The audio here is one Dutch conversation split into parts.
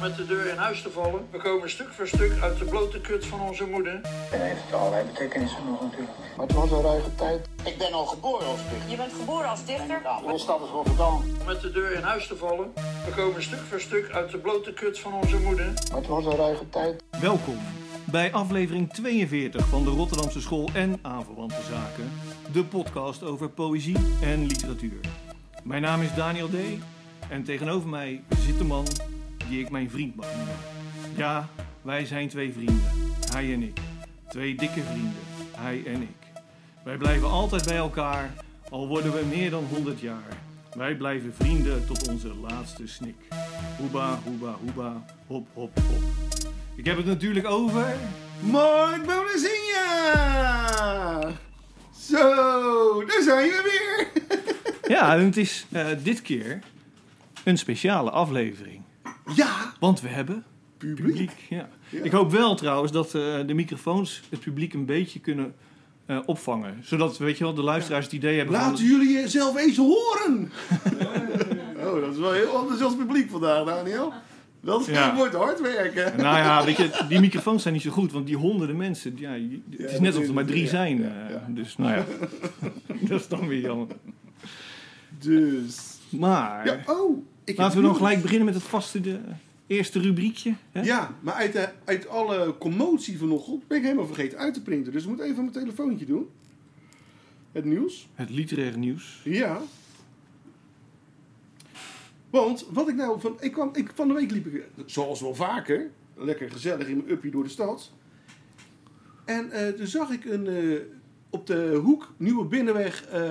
met de deur in huis te vallen. We komen stuk voor stuk uit de blote kut van onze moeder. En heeft allerlei betekenissen nog natuurlijk. Maar het was een ruige tijd. Ik ben al geboren als dichter. Je bent geboren als dichter. Mijn stad is Rotterdam. Met de deur in huis te vallen. We komen stuk voor stuk uit de blote kut van onze moeder. Maar het was een ruige tijd. Welkom bij aflevering 42 van de Rotterdamse School en aanverwante zaken, de podcast over poëzie en literatuur. Mijn naam is Daniel D. en tegenover mij zit de man die ik mijn vriend mag noemen. Ja, wij zijn twee vrienden, hij en ik. Twee dikke vrienden, hij en ik. Wij blijven altijd bij elkaar, al worden we meer dan 100 jaar. Wij blijven vrienden tot onze laatste snik. Hoeba, hoeba, hoeba, hop, hop, hop. Ik heb het natuurlijk over. Mark Bonazinha! Zo, daar zijn we weer. Ja, en het is eh, dit keer een speciale aflevering. Ja, Want we hebben publiek. publiek. Ja. Ik hoop wel trouwens dat eh, de microfoons het publiek een beetje kunnen eh, opvangen. Zodat, weet je wel, de luisteraars het idee hebben Laten van... jullie jezelf eens horen. Oh, dat is wel heel enthousiast publiek vandaag, Daniel. Dat Ja. wordt hard werken. Nou ja, weet je, die microfoons zijn niet zo goed, want die honderden mensen, ja, je- het is net alsof er maar drie ja, zijn. ja, eh, ja. Dus nou ja, dat is dan weer jammer. Dus. Maar, Ja, oh. Ik heb laten we dan nieuws. gelijk beginnen met het vaste de, eerste rubriekje. Hè? Ja, maar uit, eh, uit alle commotie vanochtend ben ik helemaal vergeten uit te printen. Dus ik moet even mijn telefoontje doen. Het nieuws. Het literaire nieuws. Ja. Want wat ik nou van. Ik kwam, ik, van de week liep ik, zoals wel vaker, lekker gezellig in mijn uppie door de stad. En eh, toen zag ik een, eh, op de hoek Nieuwe Binnenweg eh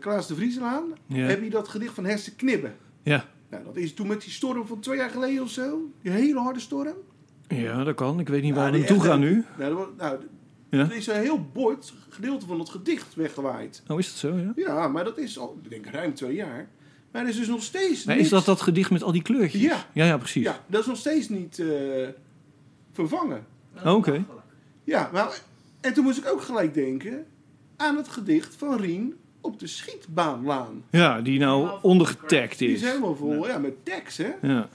Klaas de Vrieselaan. Ja. Heb je dat gedicht van Hersen Knibben? Ja. Nou, dat is toen met die storm van twee jaar geleden of zo. Die hele harde storm. ja, dat kan. Ik weet niet Nou, waar we die naartoe echt- gaan nu. Nou, er wa- nou, Ja. er is een heel bord, gedeelte van het gedicht weggewaaid. Oh, is dat zo? Ja? Ja, maar dat is al, ik denk ruim twee jaar. Maar er is dus nog steeds Nee, niks- is dat dat gedicht met al die kleurtjes? Ja. Ja, ja, precies. Ja, dat is nog steeds niet eh, vervangen. Oké. Ja, maar, en toen moest ik ook gelijk denken aan het gedicht van Rien op de schietbaanlaan. Ja, die nou ondergetagd Die is is. helemaal vol, ja, met tekst, hè. Ja.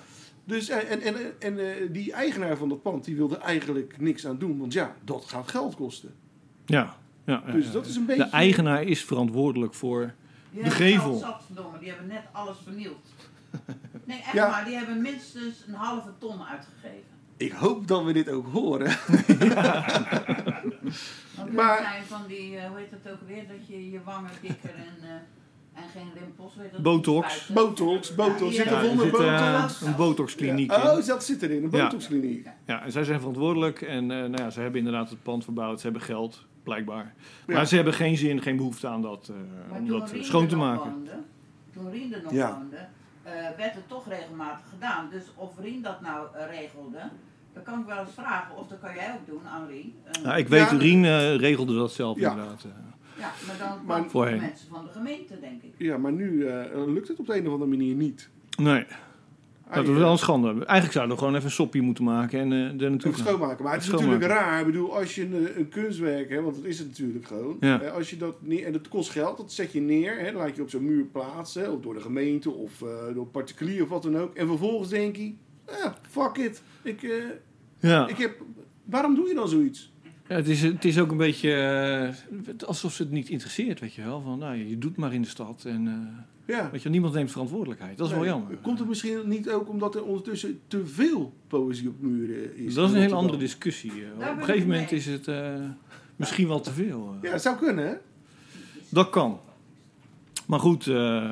Dus, eh, en en, en, eh, die eigenaar van dat pand, die wilde eigenlijk niks aan doen. Want ja, dat gaat geld kosten. Ja. ja, ja, Dus ja. dat is een beetje... De eigenaar is verantwoordelijk voor... Die De hebben gevel. geld zat, verdomme. Die hebben net alles vernield. Nee, echt Ja. waar. Die hebben minstens een halve ton uitgegeven. Ik hoop dat we dit ook horen. Maar- Want maar... zijn van die, eh, hoe heet dat ook weer, dat je je wangen dikker en, eh, en geen rimpels... hoe heet dat? Botox. Spuiten. Botox, botox. Ja, Zit er Ja, er onder zit eh, botox? botox. een botoxkliniek in. Oh, dat zit erin, een Ja. botoxkliniek. Ja, en zij zijn verantwoordelijk en eh, nou ja, ze hebben inderdaad het pand verbouwd. Ze hebben geld, blijkbaar. Maar Ja. ze hebben geen zin, geen behoefte aan dat, eh, Maar om toen dat eh, Rien schoon er te nog maken. woonde, toen Rien er nog Ja. woonde, eh, werd het toch regelmatig gedaan. Dus of Rien dat nou eh, regelde, dan kan ik wel eens vragen. Of dat kan jij ook doen aan Rien. Eh, Nou, ik weet, Ja. Rien eh, regelde dat zelf Ja. inderdaad. eh. Ja, maar dan Maar- kwamen Voorheen. de mensen van de gemeente, denk ik. Ja, maar nu eh, lukt het op de een of andere manier niet. Ah, Nee, Hij, dat is wel een schande. Eigenlijk zouden we gewoon even een soppie moeten maken en eh er naartoe Even gaan. schoonmaken. Maar het is Schoonmaken. natuurlijk raar. Ik bedoel, als je een, een kunstwerk, hè, want dat is het natuurlijk gewoon. Ja. Hè, als je dat neer, en dat kost geld, dat zet je neer. Hè, laat je op zo'n muur plaatsen. hè, Of door de gemeente of eh, door particulier of wat dan ook. En vervolgens denk je, ah, fuck it. Ik, eh, Ja. ik heb, waarom doe je dan zoiets? Ja, het, is, het is ook een beetje eh, alsof ze het niet interesseert, weet je wel. Van, nou, je doet maar in de stad en eh, Ja. weet je, wel, niemand neemt verantwoordelijkheid. Dat is Nee, wel jammer. Komt het misschien niet ook omdat er ondertussen te veel poëzie op muren is? dat is een hele in Rotterdam? andere discussie. eh. ben op een ik gegeven mee. moment is het eh, misschien wel te veel. eh. Ja, het zou kunnen, hè? Dat kan. Maar goed, eh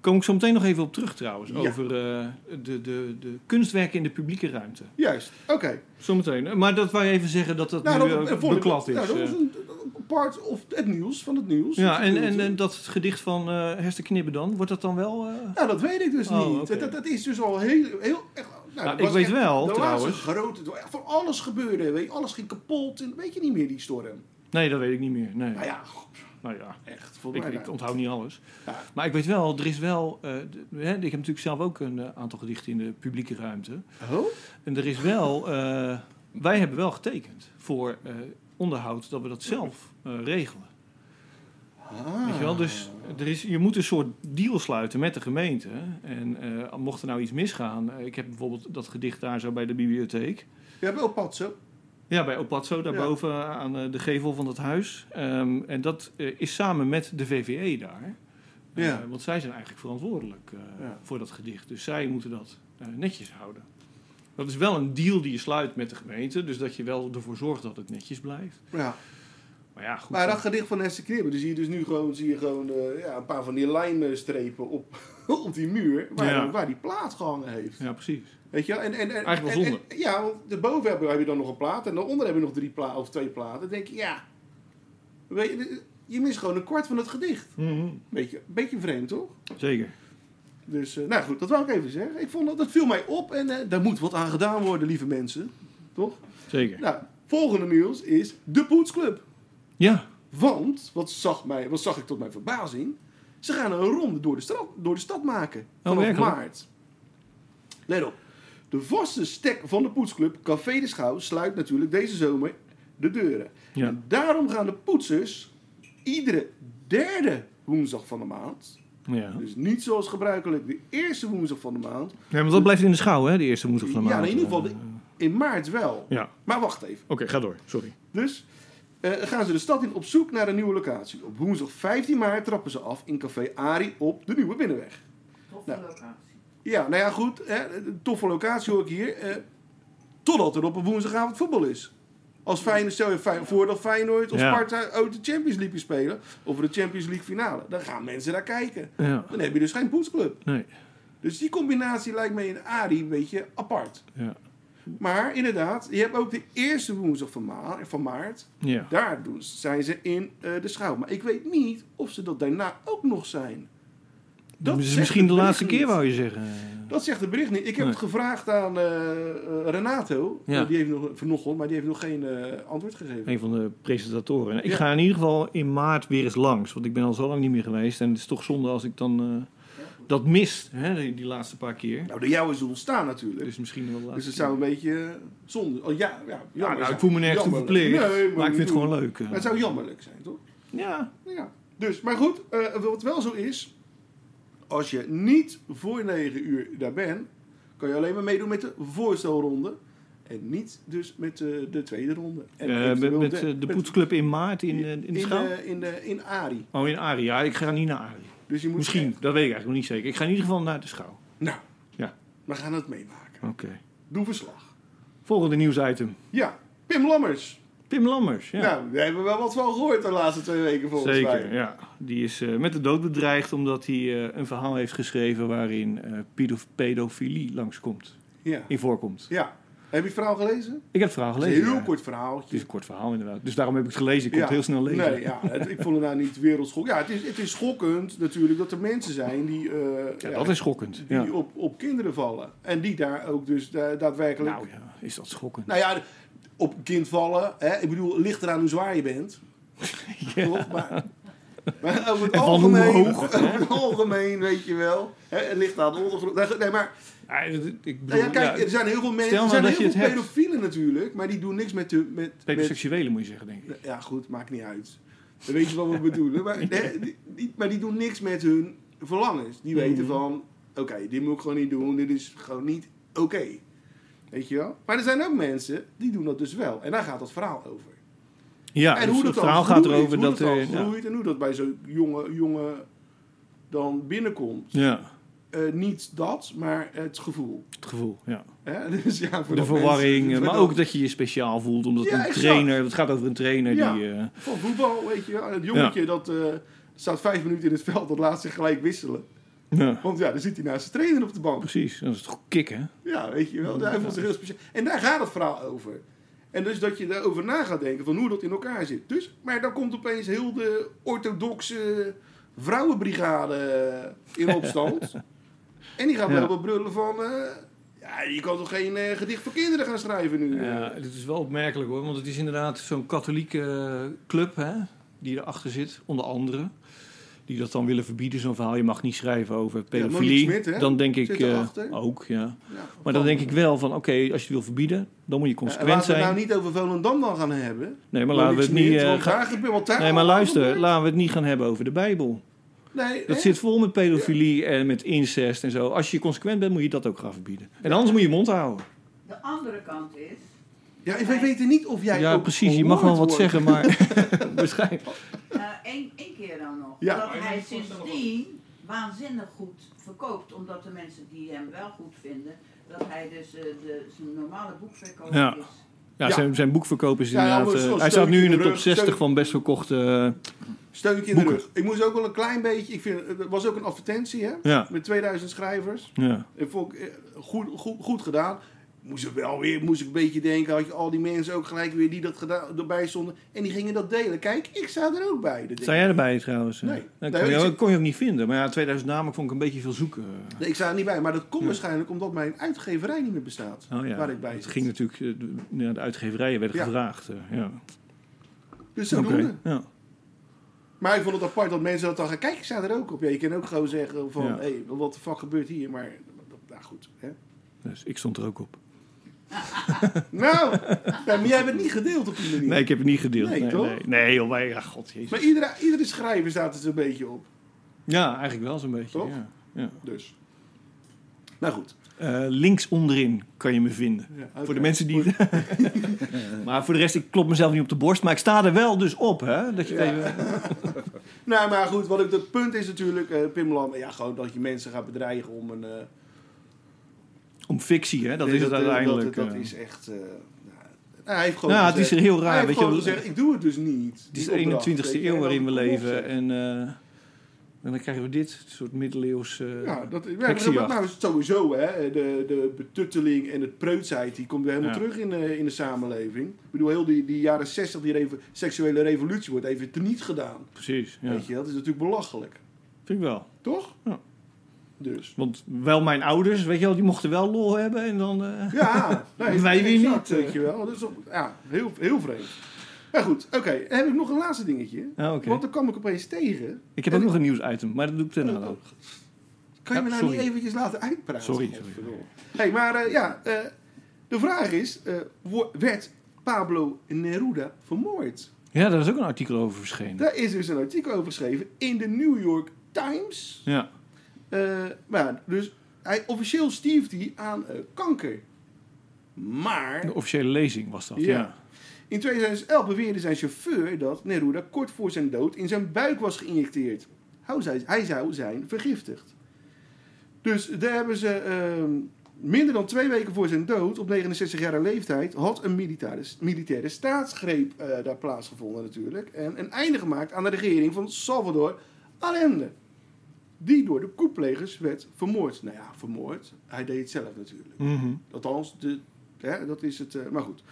kom ik zo meteen nog even op terug trouwens. Ja. Over eh, de, de, de kunstwerken in de publieke ruimte. Juist, oké. Zometeen. Eh, Maar dat wou je even zeggen dat dat Nou, nu dat, eh, eh, vond ik- beklad is. nou, dat was eh. een een part of het nieuws, van het nieuws. ja, en, en, en Nou, dat gedicht van eh Hester Knibbe dan, wordt dat dan wel... eh, dat weet ik dus Oh, niet. oké. Dat, dat is dus al heel... heel echt, nou, dat ik was weet echt wel, de trouwens. Laatste grote, echt van alles gebeurde. Weet je, alles ging kapot. En weet je niet meer, die storm. Nee, dat weet ik niet meer. Nee. Nou ja, Nou ja, echt. Voor ik, mij ik onthoud niet alles. Ja. Maar ik weet wel, er is wel... eh, de- hè, ik heb natuurlijk zelf ook een eh, aantal gedichten in de publieke ruimte. Oh? En er is wel, eh, wij hebben wel getekend voor eh, onderhoud dat we dat zelf eh, regelen. Ah. Weet je wel? Dus er is, je moet een soort deal sluiten met de gemeente. En eh, mocht er nou iets misgaan... eh, ik heb bijvoorbeeld dat gedicht daar zo bij de bibliotheek. Ja, bij Opatso. Ja, bij Opatso, daarboven aan eh, de gevel van dat huis. Ehm, en dat eh, is samen met de VVE daar. Eh, Ja. want zij zijn eigenlijk verantwoordelijk eh, Ja. voor dat gedicht. Dus zij moeten dat eh, netjes houden. Dat is wel een deal die je sluit met de gemeente. Dus dat je wel ervoor zorgt dat het netjes blijft. Ja. Maar ja, goed. Maar dat dan- gedicht van Hester Knibbe, dan zie je dus nu gewoon, zie je gewoon eh, ja, een paar van die lijmstrepen op, op die muur waar, Ja. waar die plaat gehangen heeft. Ja, precies. Weet je wel? En, en, en, Eigenlijk wel en- en- ja, want daarboven heb je, heb je dan nog een plaat en daaronder heb je nog drie pla of twee platen. Dan denk je, ja, weet je, je mist gewoon een kwart van het gedicht. Beetje, beetje vreemd, toch? Zeker. Dus, eh, nou goed, dat wou ik even zeggen. Ik vond dat, dat viel mij op en eh, daar moet wat aan gedaan worden, lieve mensen. Toch? Zeker. Nou, volgende nieuws is de Poetsclub. Ja. Want, wat zag, mij, wat zag ik tot mijn verbazing? Ze gaan een ronde door de, stad, door de stad Oh, maken. Vanaf werkelijk? maart. Let op. De vaste stek van de poetsclub Café de Schouw sluit natuurlijk deze zomer de deuren. Ja. En daarom gaan de poetsers iedere derde woensdag van de maand... ja. dus niet zoals gebruikelijk de eerste woensdag van de maand... Nee, maar dat blijft in de schouw, hè? De eerste woensdag van de ja, maand. in ieder geval de- Eh, in maart wel. Ja. Maar wacht even. Oké, ga door. Sorry. Dus eh, gaan ze de stad in op zoek naar een nieuwe locatie. Op woensdag 15 maart trappen ze af in Café Ari op de Nieuwe Binnenweg. Toffe Nou. locatie. Ja, nou ja, goed. Hè, een toffe locatie hoor ik hier. eh, totdat er op een woensdagavond voetbal is. Als Feyenoord, stel je Fey- voor dat Feyenoord of Ja. Sparta ook de Champions League spelen. Of de Champions League finale. Dan gaan mensen naar kijken. Ja. Dan heb je dus geen poetsclub. Nee. Dus die combinatie lijkt mij in Ari een beetje apart. Ja. Maar inderdaad, je hebt ook de eerste woensdag van, ma- van maart. Ja. Daar doen ze, zijn ze in eh, de schouw. Maar ik weet niet of ze dat daarna ook nog zijn. Dat is zegt Dus misschien het de bericht laatste keer, niet. wou je zeggen. Dat zegt het bericht niet. Ik heb Nee. het gevraagd aan eh, eh, Renato. Ja. Eh, Die heeft nog, vanochtend, maar die heeft nog geen eh, antwoord gegeven. Een van de presentatoren. Ik Ja. ga in ieder geval in maart weer eens langs. Want ik ben al zo lang niet meer geweest. En het is toch zonde als ik dan eh, dat mis. Hè, die, die laatste paar keer. Nou, door jou is het ontstaan natuurlijk. Dus, Dus misschien wel de laatste het keer. zou een beetje eh, zonde. Oh, ja, ja, jammer Ja, nou, zijn. ik voel me nergens toe Jammerlijk. verplicht. Nee, maar ik niet vind het doen. gewoon leuk. eh. Maar het zou jammerlijk zijn, toch? Ja. Nou Ja. Dus, maar goed, eh, wat wel zo is, als je niet voor 9 uur daar bent, kan je alleen maar meedoen met de voorstelronde. En niet dus met eh, de tweede ronde. En Eh, met eventueel met eh, de poetsclub in maart in, eh, in de in, schouw. eh, in, eh, in Ari. oh, in Arie. Ja, ik ga niet naar Arie. Dus je moet Misschien. Dat weet ik eigenlijk nog niet zeker. Ik ga in ieder geval naar de schouw. Nou, Ja. we gaan het meemaken. Oké. Doe verslag. Volgende nieuwsitem. Ja, Pim Lammers. Pim Lammers. Ja. Nou, we hebben wel wat van gehoord de laatste twee weken volgens Zeker, mij. ja. Die is eh, met de dood bedreigd omdat hij eh, een verhaal heeft geschreven waarin eh, pedof- pedofilie langskomt, Ja. in voorkomt. ja. Heb je het verhaal gelezen? Ik heb het verhaal Het is gelezen. een heel ja. kort Het verhaaltje. is een kort verhaal inderdaad. Dus daarom heb ik het gelezen. Ik kon het heel snel lezen. Nee, ja, het- ik vond het nou niet wereldschokkend. Ja, het is, het is schokkend natuurlijk dat er mensen zijn die, eh, Ja, ja, dat is schokkend. die Ja. op, op kinderen vallen. En die daar ook dus da- daadwerkelijk... Nou ja, is dat schokkend. Nou ja, op een kind vallen. Hè, ik bedoel, het ligt eraan hoe zwaar je bent. Toch? Maar, maar over het En van hoe algemeen... hoog, hè? over het algemeen, weet je wel. Hè, het ligt aan de ondergrond. Nee, goed, Nee, maar Ja, ik bedoel, nou ja, kijk, ja, er zijn heel veel mensen... stel nou er zijn dat heel je veel het hebt. pedofielen natuurlijk. Maar die doen niks met... De, met, met pedoseksuelen moet je zeggen, denk ik. Nou ja, goed, maakt niet uit. Dan weet je wat we bedoelen. Maar, hè, die, die- maar die doen niks met hun verlangens. Die Mhm. weten van, oké, dit moet ik gewoon niet doen. Dit is gewoon niet oké. Weet je wel? Maar er zijn ook mensen die doen dat dus wel. En daar gaat dat verhaal over. Ja, en dus het dan verhaal gaat groeit, erover hoe dat... dan eh, ja. groeit en hoe dat bij zo'n jonge, jongen dan binnenkomt. ja, Eh, niet dat, maar het gevoel. het gevoel, ja. Hè? Dus ja, voor De dat verwarring, mensen- eh, voor maar dat- ook dat je je speciaal voelt. Omdat Ja, een exact. trainer... Het gaat over een trainer Ja. die... eh, Van voetbal, weet je wel. En Het jongetje dat eh, staat vijf minuten in het veld, dat laat zich gelijk wisselen. ja, Want ja, dan zit hij naast zijn trainer op de bank. precies. Dat is toch kicken, Ja, weet je wel. Hij voelt zich heel speciaal. En daar gaat het verhaal over. En dus dat je daarover na gaat denken van hoe dat in elkaar zit. Dus, maar dan komt opeens heel de orthodoxe vrouwenbrigade in opstand. en die gaat Ja. lopen brullen van... eh, ja, je kan toch geen eh, gedicht voor kinderen gaan schrijven nu? Ja, dit Eh, is wel opmerkelijk hoor, want het is inderdaad zo'n katholieke eh, club hè, die erachter zit, onder andere. die dat dan willen verbieden, zo'n verhaal. Je mag niet schrijven over Monique pedofilie. Smit, hè? dan denk ik Zit eh, erachter. ook, ja. Ja, Maar dan denk ik wel van, oké, als je het wil verbieden, dan moet je Ja, en consequent laten we zijn. het nou niet over Volendam dan gaan hebben. nee, maar laten we het niet. eh, gaan. gaan- Daar gebeurt, want daar Nee, maar luister, gebeurt- laten we het niet gaan hebben over de Bijbel. Nee, Dat hè? zit vol met pedofilie en met incest en zo. Als je consequent bent, moet je dat ook gaan verbieden. En anders moet je mond houden. De andere kant is, Ja, wij weten niet of jij. Ja, ook precies. Je mag wel wat gehoord wordt. zeggen, maar waarschijnlijk. eh, één, één keer dan nog, Ja. dat hij sindsdien waanzinnig goed verkoopt. Omdat de mensen die hem wel goed vinden, dat hij dus eh, de, zijn normale boekverkoop Ja. is. Ja, Ja. Zijn, zijn boekverkoop is Ja, ja, inderdaad... maar eh, zo'n hij staat nu in de top steun- 60 van best verkochte... eh, Steuntje in de Boeken. rug. Ik moest ook wel een klein beetje. Ik vind, er was ook een advertentie, hè? ja, Met 2000 schrijvers. ja. En vond ik eh, goed, goed, goed gedaan. Moest ik wel weer, moest ik een beetje denken. Had je al die mensen ook gelijk weer die dat gedaan, erbij stonden. En die gingen dat delen. Kijk, ik sta er ook bij. Dat Sta jij erbij trouwens? Nee. Dat Nee, kon, je, ik- ook- kon je ook niet vinden. Maar ja, 2000 namelijk vond ik een beetje veel zoeken. denk- Nee, ik sta er niet bij. Maar dat komt waarschijnlijk omdat mijn uitgeverij niet meer bestaat. Oh ja, Waar ik bij het zit. ging natuurlijk... eh, de, ja, de uitgeverijen werden Ja. gevraagd. eh, ja. Dus zodoende. Oké, ja. Maar ik vond het apart dat mensen dat dan gaan kijken. Ik sta er ook op. Ja, je kan ook gewoon zeggen van... Ja. Hé, hey, wat de fuck gebeurt hier? Maar nou goed. Hè? Dus ik stond er ook op. Nou, ja, maar jij bent niet gedeeld op die manier. Nee, ik heb het niet gedeeld. Nee, Nee, nee, toch? nee. nee joh, wij- ja, god, jezus. Maar iedere, iedere schrijver staat er een beetje op. Ja, eigenlijk wel zo'n beetje. Toch? Ja. Ja. Dus. Nou goed. Eh, links onderin kan je me vinden. Voor de mensen die. Eh. maar voor de rest, ik klop mezelf niet op de borst. Maar ik sta er wel dus op, hè? Dat je Ja. even- Nou, maar goed. Wat ik, het punt is natuurlijk, eh Pim Lam... Ja, gewoon dat je mensen gaat bedreigen om een... eh, Om fictie, hè? Dat is het eh, uiteindelijk. Dat, dat eh. is echt... eh, nou, hij heeft gewoon Nou, het gezegd, is heel raar, Hij heeft weet je gewoon wel. gezegd, ik doe het dus niet. Het is Die opdracht, de 21ste weet je, eeuw en waarin we dan leven. En, eh, en dan krijgen we dit soort middeleeuws. eh, Ja, dat, ja, maar Heksenjacht. dat- nou, is het sowieso, hè, de, de betutteling en het preutsheid, die komt weer helemaal Ja. terug in, eh, in de samenleving. Ik bedoel, heel die, die jaren 60, die revo- seksuele revolutie wordt even teniet gedaan. Precies, ja. Weet je, dat is natuurlijk belachelijk. Vind ik wel. Toch? Ja. Dus. Want wel mijn ouders, weet je wel, die mochten wel lol hebben. En dan. eh, Ja, nee, Wij weer exact, niet, eh. Weet je wel. Dus, op- ja, heel, heel vreemd. Maar goed, oké. Dan heb ik nog een laatste dingetje. Ja, oké. Want dan kwam ik opeens tegen. Ik heb ook nog een nieuwsitem, maar dat doe ik ten Oh, nadeel. Kan Ja, je me nou sorry. niet eventjes laten uitpraten? Sorry, Godverdomme. Hey, maar eh, ja, eh, de vraag is, eh, wo- werd Pablo Neruda vermoord? Ja, daar is ook een artikel over verschenen. Daar is dus een artikel over geschreven in de New York Times. Ja. Eh, maar ja, dus hij, officieel stierf hij aan eh, kanker. Maar De officiële lezing was dat. Ja. ja. in 2011 beweerde zijn chauffeur dat Neruda kort voor zijn dood in zijn buik was geïnjecteerd. Hou zij- Hij zou zijn vergiftigd. Dus daar hebben ze ehm, minder dan twee weken voor zijn dood, op 69-jarige leeftijd, had een militaire, militaire staatsgreep eh, daar plaatsgevonden natuurlijk. En een einde gemaakt aan de regering van Salvador Allende. Die door de koeplegers werd vermoord. Nou ja, vermoord. Hij deed het zelf natuurlijk. Mhm. Althans, de, hè, dat is het. eh, maar goed.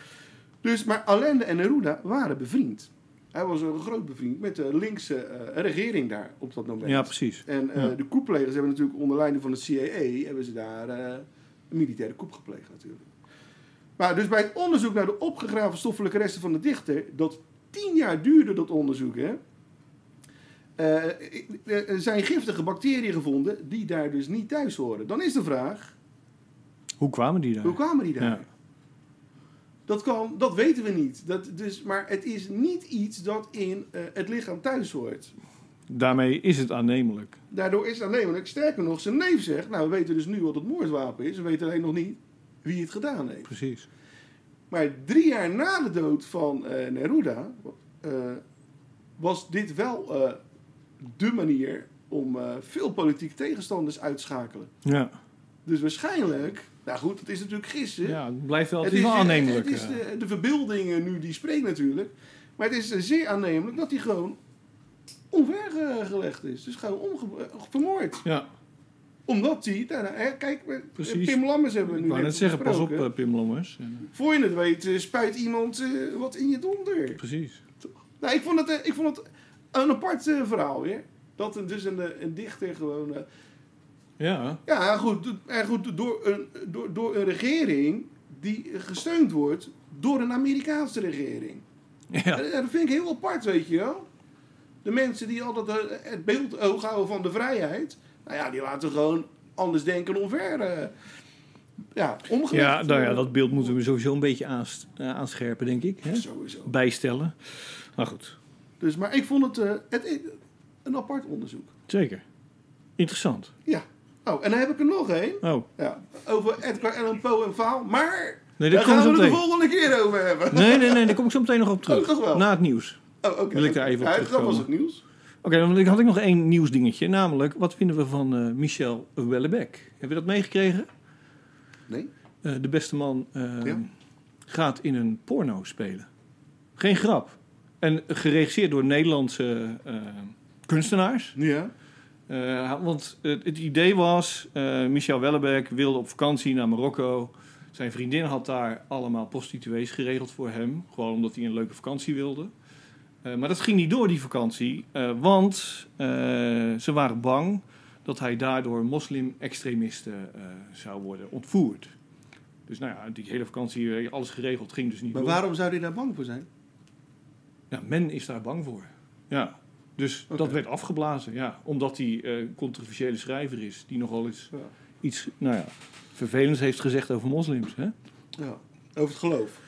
Dus, maar Allende en Neruda waren bevriend. Hij was een groot bevriend met de linkse eh, regering daar op dat moment. Ja, precies. En eh, Ja. de koeplegers hebben natuurlijk onder leiding van de CIA... hebben ze daar eh, een militaire koep gepleegd natuurlijk. Maar dus bij het onderzoek naar de opgegraven stoffelijke resten van de dichter... dat tien jaar duurde dat onderzoek, hè... eh, eh, eh, zijn giftige bacteriën gevonden die daar dus niet thuis horen. Dan is de vraag, Hoe kwamen die daar? hoe kwamen die daar? Ja. Dat, kan, dat weten we niet. Dat, dus, maar het is niet iets dat in eh, het lichaam thuis hoort. Daarmee is het aannemelijk. Daardoor is het aannemelijk. Sterker nog, zijn neef zegt... Nou, we weten dus nu wat het moordwapen is. We weten alleen nog niet wie het gedaan heeft. Precies. Maar drie jaar na de dood van eh, Neruda... eh, was dit wel eh, de manier om eh, veel politieke tegenstanders uit te schakelen. Ja, Dus waarschijnlijk... Nou goed, het is natuurlijk gissen. ja het blijft wel, het Het is wel aannemelijk. Het is eh. de, de verbeelding eh, nu die spreekt natuurlijk. Maar het is eh, zeer aannemelijk dat hij gewoon omvergelegd is. Dus gewoon omge- eh, vermoord. Ja, Omdat hij... daarna- hè, kijk, we- Precies. Pim Lammers hebben we nu ik wou net net zeggen, pas op besproken. eh, Pim Lammers. En, Voor je het weet eh, spuit iemand eh, wat in je donder. eh, precies. Nou, ik vond het, eh, ik vond het een apart eh, verhaal weer. Dat een, dus een, eh, een dichter gewoon... eh, Ja, ja, goed, do- eh, goed door, een, door, door een regering die gesteund wordt door een Amerikaanse regering. ja. Ja, dat vind ik heel apart, weet je wel. De mensen die altijd eh, het beeld oog houden van de vrijheid, nou ja, die laten gewoon anders denken onver. eh, ja, omgelegd. eh, Ja, nou ja, dat beeld moeten we sowieso een beetje aans- eh, aanscherpen, denk ik. Hè? Sowieso. Bijstellen. Maar goed, Dus, maar ik vond het, eh, het een apart onderzoek. zeker. Interessant. Ja. Oh, en dan heb ik er nog één. Oh, Ja, over Edgar Allan Poe en Vaal. Maar nee, daar daar gaan komen we we het zo de meteen. volgende keer over hebben. Nee, nee, nee, daar kom ik zo meteen nog op terug. Oh, toch wel? Na het nieuws. Oh, oké. Wil ik daar even op Ja, Dat was terugkomen? het nieuws. Oké, dan had ik nog één nieuwsdingetje. Namelijk, wat vinden we van eh, Michel Wellebeck? Heb je dat meegekregen? Nee. Eh, de beste man eh, Ja. gaat in een porno spelen. Geen grap. En geregisseerd door Nederlandse eh, kunstenaars. Ja. Eh, want het, het idee was, eh, Michel Wellebeck wilde op vakantie naar Marokko. Zijn vriendin had daar allemaal prostituees geregeld voor hem. Gewoon omdat hij een leuke vakantie wilde. Eh, maar dat ging niet door, die vakantie. eh, want eh, ze waren bang dat hij daardoor moslim-extremisten eh, zou worden ontvoerd. Dus nou ja, die hele vakantie, eh, alles geregeld, ging dus niet Maar door. waarom zou hij daar bang voor zijn? Ja, men is daar bang voor. Ja. Dus Oké. dat werd afgeblazen, ja. Omdat hij eh, controversiële schrijver is, die nogal eens Ja. iets nou ja, vervelends heeft gezegd over moslims. Hè? Ja. Over het geloof.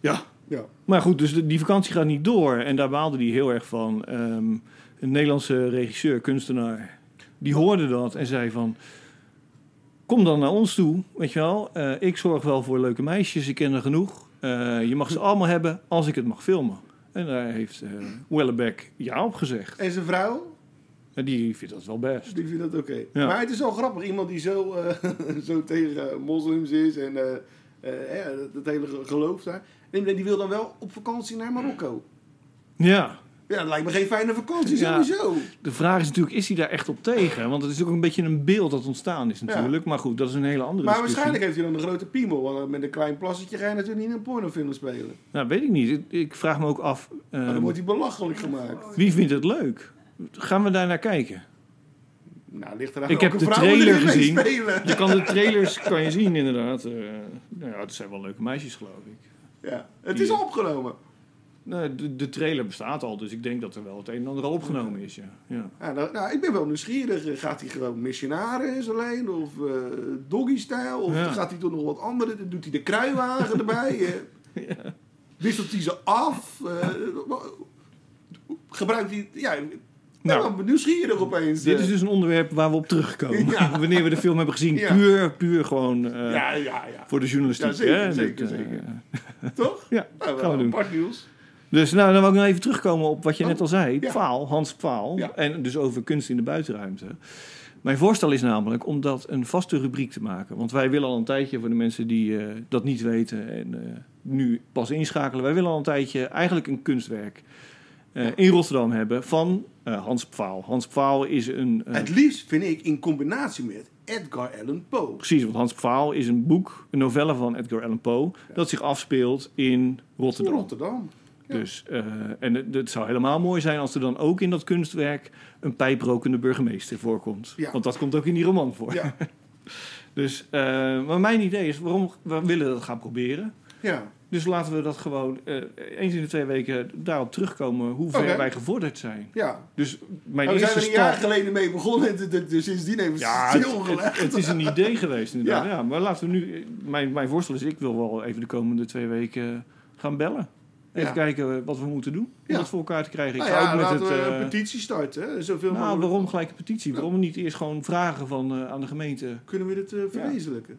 Ja. Ja. Maar goed, dus de- die vakantie gaat niet door. En daar baalde hij heel erg van. Ehm, een Nederlandse regisseur, kunstenaar, die hoorde dat en zei van... Kom dan naar ons toe, weet je wel. Eh, ik zorg wel voor leuke meisjes, ik ken er genoeg. Eh, je mag ze allemaal hebben als ik het mag filmen. En daar heeft eh Wellebeck ja op gezegd. En zijn vrouw, En die vindt dat wel best. Dus die vindt dat oké. Ja. Maar het is wel grappig. Iemand die zo, eh, zo tegen eh, moslims is en eh, eh, hè, dat- dat hele ge- geloof daar. En die wil dan wel op vakantie naar Marokko. Ja, Ja, dat lijkt me geen fijne vakantie Ja. sowieso. de vraag is natuurlijk, is hij daar echt op tegen? Want het is ook een beetje een beeld dat ontstaan is natuurlijk. Maar goed, dat is een hele andere Maar discussie. waarschijnlijk heeft hij dan een grote piemel. Want met een klein plassetje ga je natuurlijk niet in een pornofilm spelen. Nou, weet ik niet. Ik, ik vraag me ook af, Maar Oh, dan ehm, wordt hij belachelijk gemaakt. wie vindt het leuk? Gaan we daar naar kijken? Nou, ligt eraan Ik heb welke de vrouwen trailer erin gezien. meespelen. Je kan de trailers kan je zien inderdaad. Eh, nou ja, het zijn wel leuke meisjes geloof ik. Ja, het is Die- al opgenomen. Nou, de, de trailer bestaat al, dus ik denk dat er wel het een en ander al opgenomen is. Ja. Ja. Ja, nou, nou, ik ben wel nieuwsgierig. Eh, Gaat hij gewoon missionaris alleen? Of eh doggy-stijl? Of Ja. gaat hij toch nog wat andere? Doet hij de kruiwagen erbij? eh? Wisselt hij ze af? Eh, wa- gebruikt hij... Ja, ik ben Nou, wel nieuwsgierig opeens. Dit eh. is dus een onderwerp waar we op terugkomen. Ja. Wanneer we de film hebben gezien, Ja. puur, puur gewoon eh, ja, ja, ja. voor de journalistiek. Ja, zeker, hè? zeker, eh, zeker. Toch? Ja, Nou, gaan we wel doen. apart nieuws. Dus nou, dan wil ik nog even terugkomen op wat je Oh, net al zei. ja. Paal, Hans Paal. Ja. En dus over kunst in de buitenruimte. Mijn voorstel is namelijk om dat een vaste rubriek te maken. Want wij willen al een tijdje, voor de mensen die eh, dat niet weten en eh, nu pas inschakelen. Wij willen al een tijdje eigenlijk een kunstwerk eh, in Rotterdam hebben van eh, Hans Paal. Hans Paal is een... eh, Het liefst vind ik in combinatie met Edgar Allan Poe. Precies, want Hans Paal is een boek, een novelle van Edgar Allan Poe... dat zich afspeelt in Rotterdam. Rotterdam. Ja. Dus, eh, en het, het zou helemaal mooi zijn als er dan ook in dat kunstwerk een pijprokende burgemeester voorkomt. Ja. Want dat komt ook in die roman voor. Ja. Dus, eh, maar mijn idee is, waarom we willen dat gaan proberen. ja. Dus laten we dat gewoon eh, eens in de twee weken daarop terugkomen hoe ver Oké. wij gevorderd zijn. Ja, Dus mijn Maar Nou, we zijn eerste er een jaar stap... geleden mee begonnen en de- de- de- sindsdien heeft Ja, het het, het- stilgelegd. het is een idee geweest inderdaad. Ja. Ja. maar laten we nu... eh, Mijn, mijn voorstel is, ik wil wel even de komende twee weken gaan bellen. Even Ja. kijken wat we moeten doen om Ja. dat voor elkaar te krijgen. Ik Nou ga ja, ook met laten het, we eh, een petitie starten. hè. Zoveel Nou, mogelijk. waarom gelijk een petitie? Waarom niet eerst gewoon vragen van, eh, aan de gemeente? Kunnen we dit eh, verwezenlijken?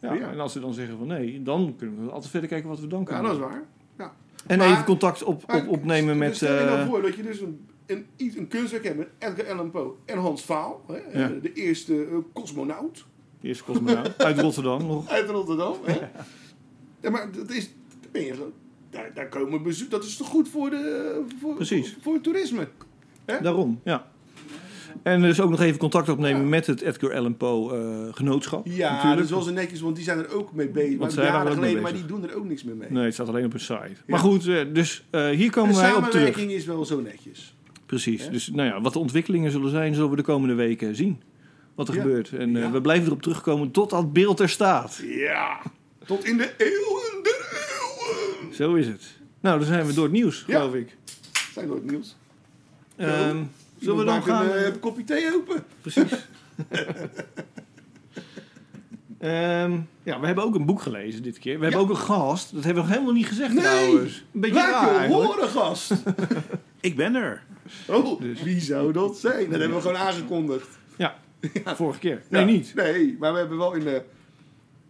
Ja, Ja. En als ze dan zeggen van nee, dan kunnen we altijd verder kijken wat we dan Ja, kunnen. dat is waar. doen. En Maar- even contact op, op, Maar opnemen dus met... Stel je nou eh, voor dat je dus een, een, iets- een kunstwerk hebt met Edgar Allan Poe en Hans Vaal. Hè, eh, Ja. De eerste eh, cosmonaut eerst Cosmonaut, uit Rotterdam nog. uit Rotterdam. Hè. Ja. maar dat is... daar Ben je, zo- daar, daar komen bezoek... Dat is toch goed voor, de, voor, Precies. voor het toerisme? Daarom, ja. En dus ook nog even contact opnemen met het Edgar Allan Poe eh, genootschap. Ja, natuurlijk. dat is wel zo netjes, want die zijn er ook mee bezig. Maar zij waren jaren er ook mee geleden, maar die bezig. doen er ook niks meer mee. Nee, het staat alleen op een site. Maar goed, eh, dus eh, hier de komen wij op terug. samenwerking is wel zo netjes. Precies. Hè? Dus nou ja, wat de ontwikkelingen zullen zijn, zullen we de komende weken zien. Wat er Ja. gebeurt. En eh, Ja. we blijven erop terugkomen tot dat beeld er staat. Ja, tot in de eeuwen der eeuwen. Zo is het. Nou, dan zijn we door het nieuws, Ja. geloof ik. Zijn we het nieuws? Eh, Ehm, zullen we dan Iemand maakt gaan? Een eh, kopje thee open. Precies. Ehm, ja, we hebben ook een boek gelezen dit keer. We hebben ook een gast. Dat hebben we nog helemaal niet gezegd Nee! trouwens. Een beetje raar Laat je eigenlijk. horen, gast. Ik ben er. Oh, Dus. wie zou dat zijn? Dat hebben we gewoon aangekondigd. Ja, vorige keer. Nee, Ja. niet. Nee, maar we hebben wel in de,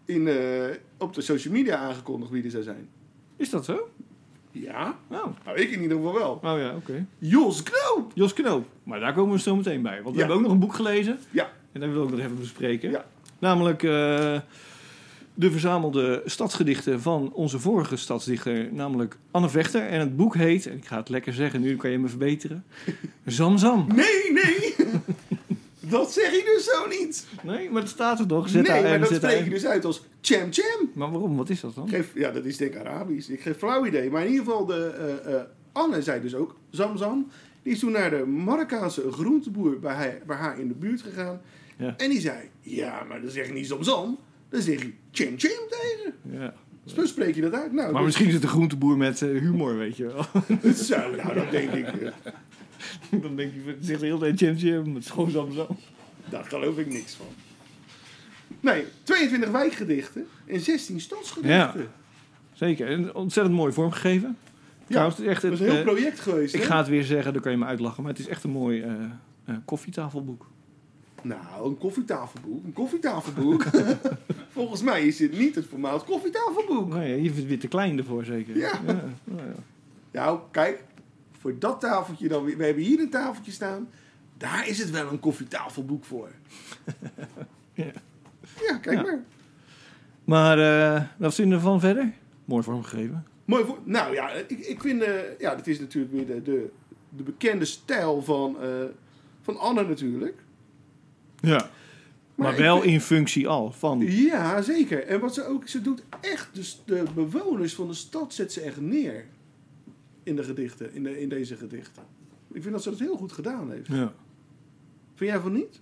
in de, op de social media aangekondigd wie er zou zijn. Is dat zo? Ja? Nou, Nou, ik in ieder geval wel. oh ja, oké. Jos Knoop! Jos Knoop. Maar daar komen we zo meteen bij. Want we Ja. hebben ook nog een boek gelezen. Ja. En dat wil ik nog even bespreken. Ja. Namelijk eh, de verzamelde stadsgedichten van onze vorige stadsdichter, namelijk Anne Vechter. En het boek heet, en ik ga het lekker zeggen, nu kan je me verbeteren, Zam Zam. Nee, nee! dat zeg je dus zo niet! Nee, maar het staat er toch? nee, maar dat spreek je spreken. dus uit als Cham Cham. Maar waarom? Wat is dat dan? Geef, ja, dat is denk ik Arabisch. Ik geef flauw idee. Maar in ieder geval, de, eh, eh, Anne zei dus ook, Zam Zam. Die is toen naar de Marokkaanse groenteboer bij, hij- bij haar in de buurt gegaan. Ja. En die zei, ja, maar dan zeg je niet Zam Zam. Dan zeg je Cham Cham tegen. Ja. Dus dan spreek je dat uit. Nou, Maar dat, misschien is het een groenteboer met eh, humor, weet je wel. dat zou, nou, dat denk ik. eh, dan denk je, van, het zegt heel de Jim Jim, het is gewoon Zam Zam. Daar geloof ik niks van. Nee, 22 wijkgedichten en 16 stadsgedichten. Ja. Zeker, en ontzettend mooi vormgegeven. Trouwens, het is echt Dat een- is een heel eh, project geweest. Ik hè? ga het weer zeggen, dan kan je me uitlachen. Maar het is echt een mooi eh, eh, koffietafelboek. Nou, een koffietafelboek. Een koffietafelboek. Volgens mij is dit niet het formaat koffietafelboek. Nee, Nou je vindt het weer te klein ervoor zeker. Ja. nou ja. Nou, kijk. Voor dat tafeltje dan weer. We hebben hier een tafeltje staan. Daar is het wel een koffietafelboek voor. Ja. Ja, kijk Ja. maar. Maar eh, wat vinden we ervan verder? Mooi vormgegeven. Mooi voor. Nou ja, ik, ik vind. eh, ja, dit is natuurlijk weer de, de, de bekende stijl van, eh, van Anne, natuurlijk. Ja. Maar, ik wel vind- in functie al van. Ja, zeker. En wat ze ook, ze doet echt dus de bewoners van de stad zet ze echt neer in de gedichten, in, de, in deze gedichten. Ik vind dat ze dat heel goed gedaan heeft. Ja. Vind jij van niet?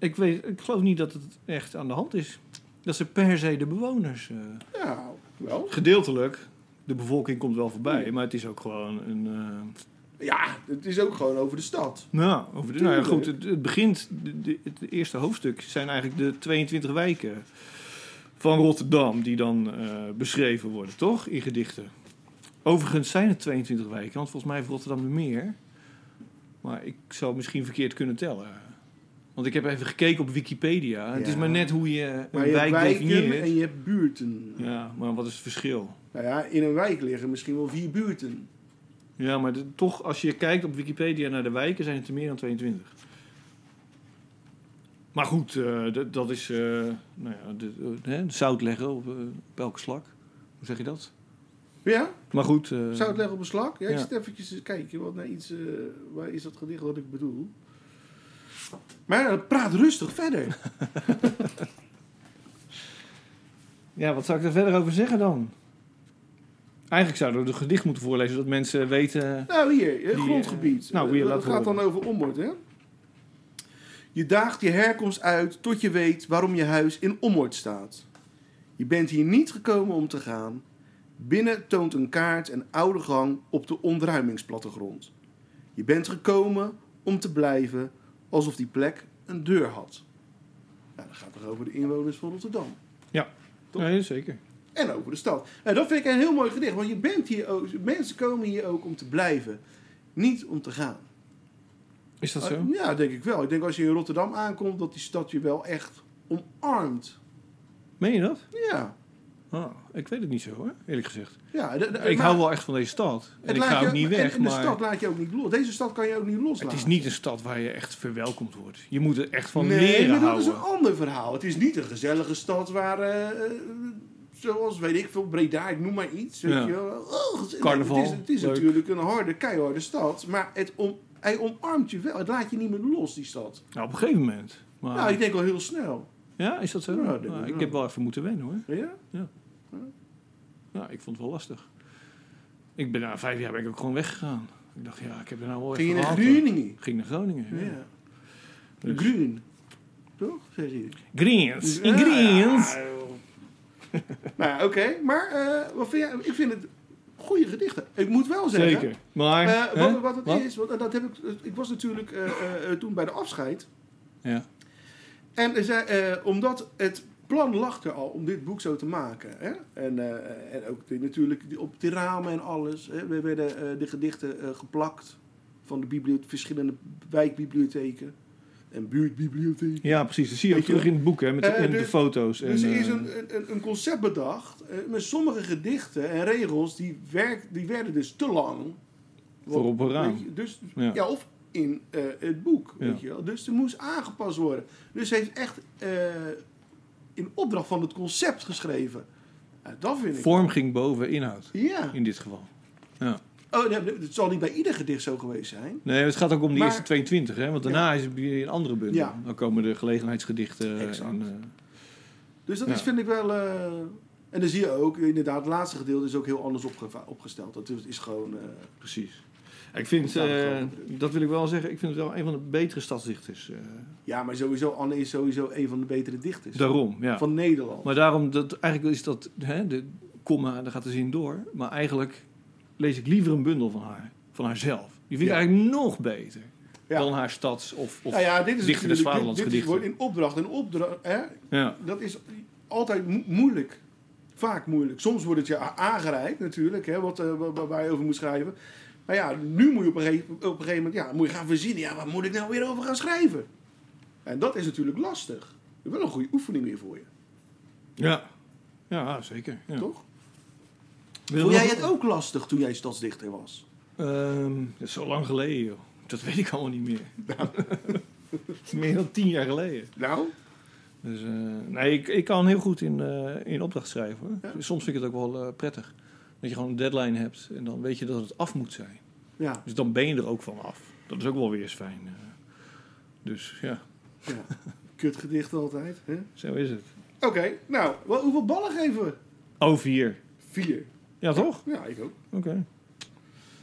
Ik, weet, ik geloof niet dat het echt aan de hand is. Dat ze per se de bewoners. eh, Ja, wel. gedeeltelijk. De bevolking komt wel voorbij, maar het is ook gewoon een. eh, Ja, het is ook gewoon over de stad. nou, over de, nou ja, Tuurlijk. goed. Het, het begint. de- de- het eerste hoofdstuk zijn eigenlijk de 22 wijken van Rotterdam die dan eh, beschreven worden, toch? In gedichten. Overigens zijn het 22 wijken, want volgens mij heeft Rotterdam er meer. Maar ik zou misschien verkeerd kunnen tellen. Want ik heb even gekeken op Wikipedia. Het is Ja. maar net hoe je een Maar je wijk hebt wijken definieert. en je hebt buurten. Ja, maar wat is het verschil? Nou ja, in een wijk liggen misschien wel vier buurten. Ja, maar de- toch, als je kijkt op Wikipedia naar de wijken, zijn het er meer dan 22. Maar goed, eh, dat- dat is eh nou ja, de, eh, hè, zout leggen op, eh, op elke slak. Hoe zeg je dat? Ja, Maar goed, eh, zou het leggen op een slak? Ja, ik ja. zit eventjes te kijken wat naar iets... eh, waar is dat gedicht wat ik bedoel? Maar eh, praat rustig verder. ja, wat zou ik er verder over zeggen dan? Eigenlijk zouden we het gedicht moeten voorlezen, zodat mensen weten... Nou, hier, eh, Die, grondgebied. eh, nou, Eh, hier, dat laat gaat horen. dan over Ommoord, hè? Je daagt je herkomst uit tot je weet waarom je huis in Ommoord staat. Je bent hier niet gekomen om te gaan. Binnen toont een kaart een oude gang op de ontruimingsplattegrond. Je bent gekomen om te blijven alsof die plek een deur had. Nou, dat gaat toch over de inwoners van Rotterdam. toch? Nee, zeker. En over de stad. En dat vind ik een heel mooi gedicht. Want je bent hier ook, mensen komen hier ook om te blijven. Niet om te gaan. Is dat zo? Oh, Ah, Ja, denk ik wel. Ik denk als je in Rotterdam aankomt, dat die stad je wel echt omarmt. Meen je dat? Ja. Ah, ik weet het niet zo hoor, eerlijk gezegd. ja de- de- ik maar hou wel echt van deze stad. het En ik laat ga je- ook niet en- weg, en de maar... stad laat je ook niet los. Deze stad kan je ook niet loslaten. Het is niet een stad waar je echt verwelkomd wordt. Je moet er echt van nee, leren maar dat houden. is een ander verhaal. Het is niet een gezellige stad waar, eh, eh, zoals weet ik veel, Breda, ik noem maar iets. Weet Ja. je wel. Oh, gez- Carnaval, Het is, het is leuk. natuurlijk een harde, keiharde stad, maar het om, hij omarmt je wel. Het laat je niet meer los, die stad. Nou, op een gegeven moment. Maar, Nou, ik denk wel heel snel. ja, is dat zo? Ja, Nou, denk ik ik wel. heb wel even moeten wennen hoor. Ja? Ja, ik vond het wel lastig. Ik ben na vijf jaar ben ik ook gewoon weggegaan. Ik dacht, ja, ik heb er nou wel even Ging je naar gehad, hoor. Groningen? Ging naar Groningen. Ja. Ja. Dus- Groen. Toch? Zeg je. Greens. In Ja, Greens. ja, joh. nou, oké. Maar eh, wat vind jij? Ik vind het goede gedichten. Ik moet wel zeggen. Zeker. Maar. eh, hè? wat, wat het is, want eh, dat heb ik, ik was natuurlijk eh, eh, eh, toen bij de afscheid. Ja. En er zei, eh, omdat het plan lag er al om dit boek zo te maken. Hè? En, eh, en ook die, natuurlijk die- op de ramen en alles. Hè? We werden eh, de gedichten eh, geplakt van de bibliothe- verschillende wijkbibliotheken en buurtbibliotheken. ja, precies. Dat zie je ook Weet je terug in het boek, hè, met de, Eh, en de dus- foto's. dus en, er is eh, een, een, een concept bedacht eh, met sommige gedichten en regels die, werk, die werden dus te lang. Want- Voor op een raam. weet je, Dus, Ja. ja. of in eh, het boek, Ja. weet je wel. Dus er moest aangepast worden. Dus ze heeft echt eh, in opdracht van het concept geschreven. Ja, dat vind ik... Vorm ging boven inhoud, Ja. in dit geval. Ja. Oh, nee, het zal niet bij ieder gedicht zo geweest zijn. Nee, het gaat ook om die Maar- eerste 22, hè? Want daarna is het weer een andere bundel. Ja. Dan komen de gelegenheidsgedichten. Exact. En, eh, Dus dat Ja. is, vind ik wel... eh, en dan zie je ook, inderdaad, het laatste gedeelte is ook heel anders opgeva- opgesteld. Dat is, is gewoon... eh, precies. Ik vind, Daar staat eh, het wel op. dat wil ik wel zeggen, ik vind het wel een van de betere stadsdichters. eh, ja, maar sowieso, Anne is sowieso een van de betere dichters. daarom, ja. Van Nederland. Maar daarom, dat, eigenlijk is dat, hè, de komma, daar gaat de zin door. Maar eigenlijk lees ik liever een bundel van haar, van haarzelf. Die vind ik Ja. eigenlijk nog beter Ja. dan haar stads- of, of nou ja, dit is dichter des natuurlijk- dit- Vaderlands dit, gedichten. wordt in opdracht en opdracht. Hè? ja. Dat is altijd mo- moeilijk. Vaak moeilijk. Soms wordt het je a- aangereikt natuurlijk, hè, wat, eh, wa- wa- waar je over moet schrijven. Maar ja, nu moet je op een gegeven, op een gegeven moment ja, moet je gaan verzinnen. Ja, waar moet ik nou weer over gaan schrijven? En dat is natuurlijk lastig. Dat is wel een goede oefening weer voor je, Ja. ja, zeker. Ja. toch? Wil je Vond nog- jij het ook lastig toen jij stadsdichter was? Ehm, dat is zo lang geleden, joh. Dat weet ik allemaal niet meer. dat is meer dan tien jaar geleden. Nou? Dus, eh, nee, ik, ik kan heel goed in, eh, in opdracht schrijven. hoor. Ja. Dus Soms vind ik het ook wel eh, prettig. Dat je gewoon een deadline hebt en dan weet je dat het af moet zijn. Ja. Dus dan ben je er ook van af. Dat is ook wel weer eens fijn. eh. Dus ja, ja. Kutgedicht altijd. hè? zo is het. Oké, nou, wel- hoeveel ballen geven we? Oh, vier. Vier. Ja, toch? Ja, ik ook. Oké.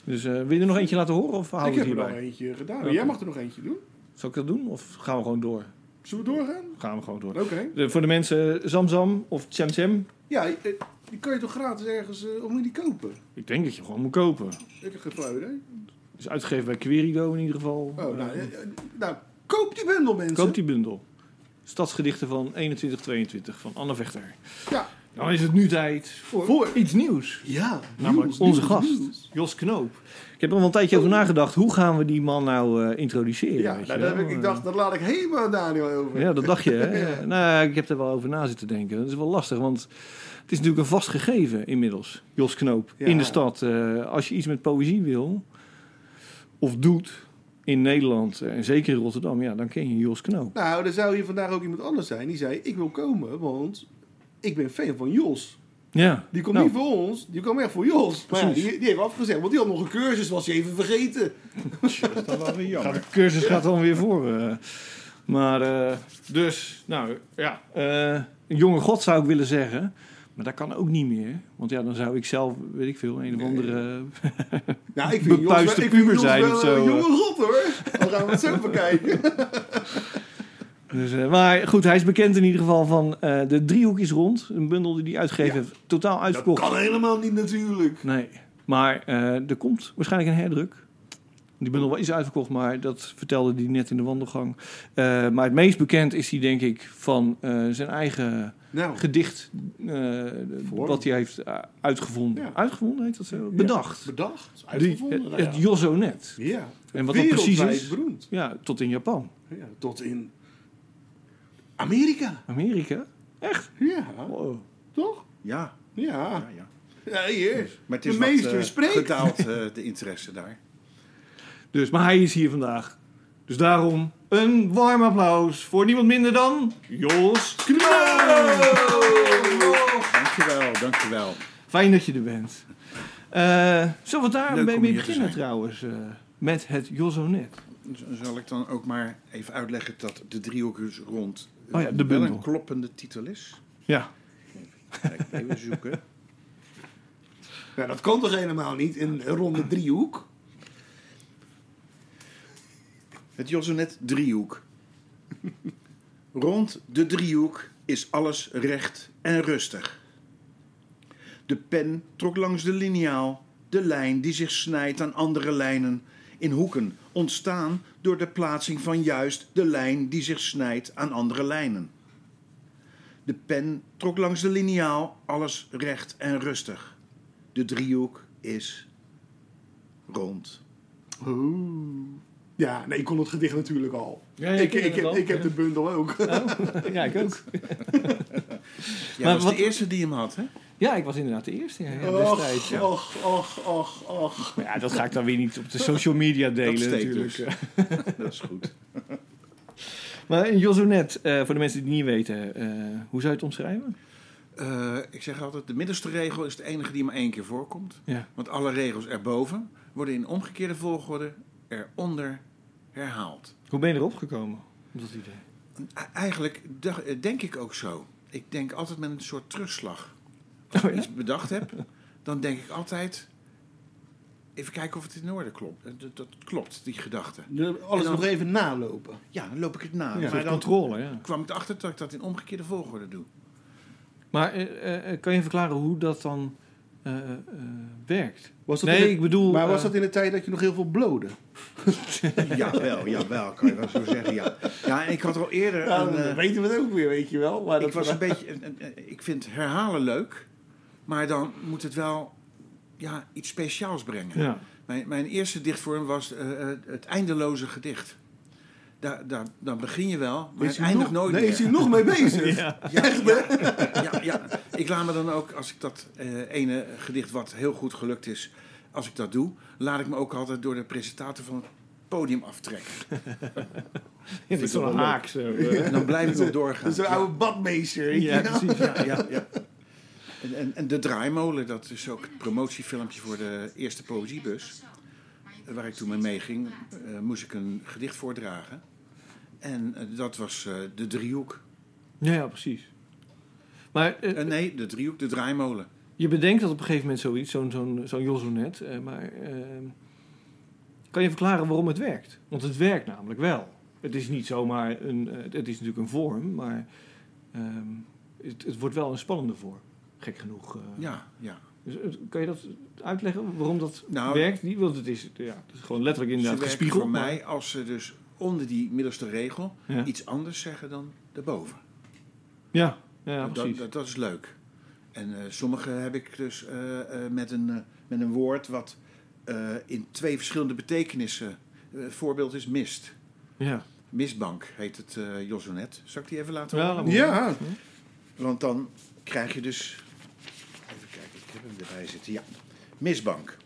Dus eh, wil je er nog eentje laten horen of houden ik we heb het er al hierbij? eentje gedaan. Oké. Jij mag er nog eentje doen. Zal ik dat doen of gaan we gewoon door? Zullen we doorgaan? Gaan we gewoon door. Oké. De- voor de mensen Zamzam of Tjemtjem. Ja, eh, die kan je toch gratis ergens, eh, of moet je die kopen? Ik denk dat je gewoon moet kopen. Ik heb geen flauw idee. Is uitgegeven bij Querido in ieder geval. Oh, nou, Eh, eh, eh, nou, koop die bundel, mensen. koop die bundel. Stadsgedichten van 2122 van Anne Vechter. Ja. Dan is het nu tijd voor, Voor- Nou, iets nieuws. Ja, Namelijk nieuws, onze nieuws, gast, nieuws. Jos Knoop. Ik heb er wel een tijdje over nagedacht. Hoe gaan we die man nou eh, introduceren? Ja, weet nou, je wel? daar heb ik, ik dacht, daar laat ik helemaal aan Daniel over. Ja, dat dacht je, hè? Nou, ik heb er wel over na zitten denken. Dat is wel lastig, want het is natuurlijk een vast gegeven inmiddels, Jos Knoop, Ja. in de stad. Eh, als je iets met poëzie wil, of doet, in Nederland, eh, en zeker in Rotterdam, ja, dan ken je Jos Knoop. Nou, er zou hier vandaag ook iemand anders zijn die zei, ik wil komen, want ik ben fan van Jos. Ja, Die komt Nou, niet voor ons, die komt echt voor Jos. Maar ja, Precies. die, die heeft afgezegd, want die had nog een cursus, was hij even vergeten. Dat is dan wel weer gaat, jammer. de cursus gaat dan weer voor. eh. maar, eh, dus, nou, ja, eh, een jonge god zou ik willen zeggen. Maar dat kan ook niet meer. Want ja, dan zou ik zelf, weet ik veel, een of andere... Nou, ik vind Jos Bepuiste wel, ik vind puber Jos zijn wel of zo, een eh. jonge god, hoor. Dan gaan we het zo bekijken. Dus, eh, maar goed, hij is bekend in ieder geval van eh, de driehoek is rond. Een bundel die hij uitgegeven Ja. heeft. Totaal Dat uitverkocht. kan helemaal niet natuurlijk. Nee. Maar eh, er komt waarschijnlijk een herdruk. Die bundel is uitverkocht, maar dat vertelde hij net in de wandelgang. Eh, maar het meest bekend is hij denk ik van eh, zijn eigen Nou, gedicht. eh, wat hij heeft eh, uitgevonden. Ja. Uitgevonden heet dat zo? Bedacht. bedacht, Die, uitgevonden. nou het eh, het ja. Jozonet. Ja. En wat dat precies Wereldwijd is. beroemd. Ja, tot in Japan. Ja, tot in Amerika. Amerika. Echt? Ja, Wow. toch? Ja, Ja. ja, ja. ja hier. Maar het is De wat, meester eh, spreekt. gedaald, eh, de interesse daar. Dus, maar hij is hier vandaag. Dus daarom een warm applaus voor niemand minder dan Jos Knoop. Dankjewel, dankjewel. Fijn dat je er bent. Eh zullen we daar Leuk mee, om mee hier te beginnen zijn. trouwens? eh, met het Jozonet. Z- Zal ik dan ook maar even uitleggen dat de driehoek is rond eh, Oh ja, de wel bundel. een kloppende titel is? Ja. Kijk, even zoeken. Ja, dat kan toch helemaal niet in een ronde driehoek? Het Jozonet driehoek. Rond de driehoek is alles recht en rustig. De pen trok langs de liniaal de lijn die zich snijdt aan andere lijnen in hoeken, ontstaan door de plaatsing van juist de lijn die zich snijdt aan andere lijnen. De pen trok langs de liniaal alles recht en rustig. De driehoek is rond. Ja, nee, ik kon het gedicht natuurlijk al. Ja, ja, ik, ken ik, het heb, al. ik heb de bundel ook. Oh, Ja, ik ook. Jij Maar was wat- de eerste die hem had, hè? Ja, ik was inderdaad de eerste ja, ja, destijds. Och, Ja. och, och, och, och. Maar ja, dat ga ik dan weer niet op de social media Dat delen steekt natuurlijk. dus. Dat is goed. Maar een Jozonet, eh, voor de mensen die het niet weten, eh, hoe zou je het omschrijven? Eh, ik zeg altijd, de middelste regel is de enige die maar één keer voorkomt. Ja. Want alle regels erboven worden in omgekeerde volgorde eronder herhaald. Hoe ben je erop gekomen? op Dat idee. En e- Eigenlijk dacht- eh, denk ik ook zo. Ik denk altijd met een soort terugslag. Als Oh, ik ja? iets bedacht heb, dan denk ik altijd... Even kijken of het in orde klopt. Eh, Dat, dat klopt, die gedachte. Nu Alles En dan- nog even nalopen. Ja, dan loop ik het na. Een maar soort dan controle, ja. kwam ik erachter dat ik dat in omgekeerde volgorde doe. Maar eh, eh, eh, kan je verklaren hoe dat dan eh, eh, werkt? Was dat nee, in de- ik bedoel... Maar was eh, dat in de tijd dat je nog heel veel blode? Ja, wel, ja, wel, kan je wel zo zeggen, ja. Ja, en ik had al eerder... Ja, een, dan eh, weten we het ook weer, weet je wel. Maar dat ik was een beetje. een- een- een- Ik vind herhalen leuk, maar dan moet het wel ja, iets speciaals brengen. Ja. Mijn, mijn eerste dichtvorm was eh, eh, het eindeloze gedicht. Daar, daar, dan begin je wel, maar Is het hij eindigt nog- nooit nee, meer. is hij nog mee bezig? Ja, ja, ja, ja. Ik laat me dan ook, als ik dat eh, ene gedicht wat heel goed gelukt is, als ik dat doe, laat ik me ook altijd door de presentator van het podium aftrekken. Ja, dat is wel een haak zo. eh. En dan blijf ik nog Dat doorgaan. is een oude badmeester. weet je Ja, wel. precies. Ja. ja, ja. En, en, en de draaimolen, dat is ook het promotiefilmpje voor de eerste poëziebus. eh, Waar ik toen mee meeging, eh, moest ik een gedicht voordragen. En eh, dat was eh, de driehoek. Ja, ja, precies. Maar eh, Eh, nee, de driehoek, de draaimolen. je bedenkt dat op een gegeven moment zoiets, zo'n zo'n zo'n Jozonet. eh, maar eh, kan je verklaren waarom het werkt? Want het werkt namelijk wel. Het is niet zomaar een... eh, het is natuurlijk een vorm, maar ehm, het, het wordt wel een spannende vorm. Gek genoeg. eh. Ja, ja. Dus, eh, kan je dat uitleggen waarom dat Nou, werkt? Die, want het is, ja, het is gewoon letterlijk Ze inderdaad werken gespiegeld. voor maar- mij als ze dus onder die middelste regel Ja. iets anders zeggen dan daarboven. Ja, ja, dat, precies. dat, dat is leuk. En eh, sommige heb ik dus eh, eh, met, een, eh, met een woord wat eh, in twee verschillende betekenissen. Eh, Een voorbeeld is mist. ja. Mistbank heet het eh Josonet. Zal ik die even laten Ja, horen? laat maar. Ja, Want dan krijg je dus. Even kijken, ik heb hem erbij zitten. Ja. Misbank.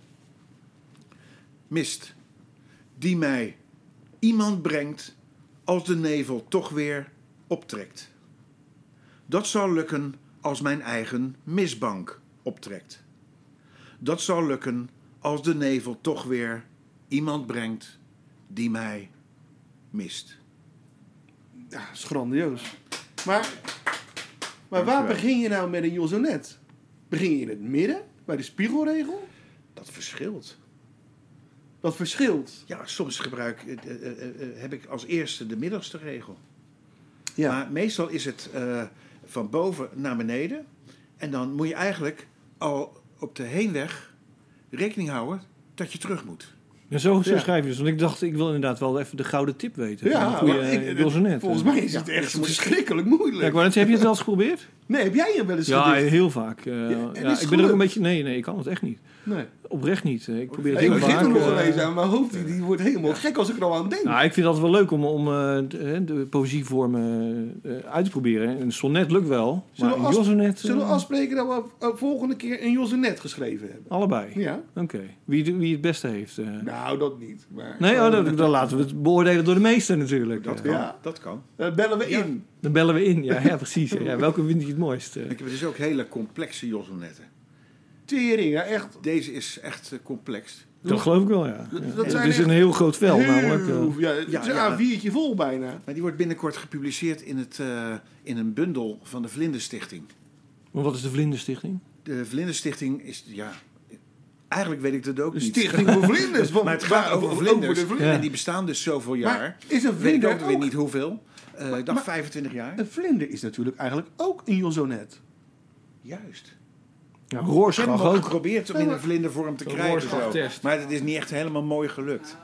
Mist. Die mij iemand brengt als de nevel toch weer optrekt. Dat zal lukken als mijn eigen misbank optrekt. Dat zal lukken als de nevel toch weer iemand brengt die mij mist. Ja, dat is grandioos. Maar, maar waar Dankjewel. begin je nou met een Jozonet? Begin je in het midden, bij de spiegelregel? Dat verschilt. Dat verschilt. Ja, soms gebruik, eh, eh, eh, eh, heb ik als eerste de middelste regel. Ja. Maar meestal is het eh, van boven naar beneden. En dan moet je eigenlijk al op de heenweg rekening houden dat je terug moet. Ja, zo, zo Ja. schrijf je dus. Want ik dacht, ik wil inderdaad wel even de gouden tip weten. Ja, Een goede, maar ik- eh, Jozenet. Volgens mij is het echt verschrikkelijk moeilijk. Ja, ik wou net zeggen, heb je het wel eens geprobeerd? Nee, heb jij hem wel eens Ja, gedicht? heel vaak. eh, ja, en is ik ben er gelukt? ook een beetje... Nee, nee, ik kan het echt niet. Nee. Oprecht niet. eh, Ik probeer het ik heel begin vaak. er nog eh, eens aan. Mijn hoofd die, die wordt helemaal gek als ik er al aan denk. nou, ik vind dat wel leuk om, om eh, d- eh, de poëzievormen eh, uit te proberen. Een sonnet lukt wel, maar Zullen we een afs- Jozenet... eh, Zullen we afspreken dat we eh, volgende keer een Jozenet geschreven hebben? Allebei. Ja? Oké. Wie, de- wie het beste heeft. eh. Nou, dat niet. Maar... Nee, oh, dan, dan laten we het beoordelen door de meester natuurlijk. Dat Eh, kan. Ja. Dat kan. Eh, bellen we in. Dan bellen we in. Ja, ja precies. Ja, welke vind je het mooist? eh? Ik heb dus ook hele complexe josonetten. Tering, ja, echt. Deze is echt eh, complex. Dat geloof ik wel, ja. ja. dat Het zijn is echt een heel groot vel, Heel- namelijk. eh. ja, het Ja, is een ja. A4'tje vol bijna. Maar die wordt binnenkort gepubliceerd in, het, eh, in een bundel van de Vlinderstichting. Maar wat is de Vlinderstichting? De Vlinderstichting is, ja, eigenlijk weet ik dat ook Een niet. stichting voor vlinders. want- Maar het gaat over vlinders. de vlinders. Ja. En die bestaan dus zoveel jaar. Maar is Weet een ik vlinder ook weer ook- niet hoeveel. Eh, ik dacht maar- 25 jaar. Een vlinder is natuurlijk eigenlijk ook een jozonet. Juist. Ja, Ik heb hem Roorschach al ook. geprobeerd om in een vlindervorm te Een krijgen. zo. Rorschach-test. Maar dat is niet echt helemaal mooi gelukt.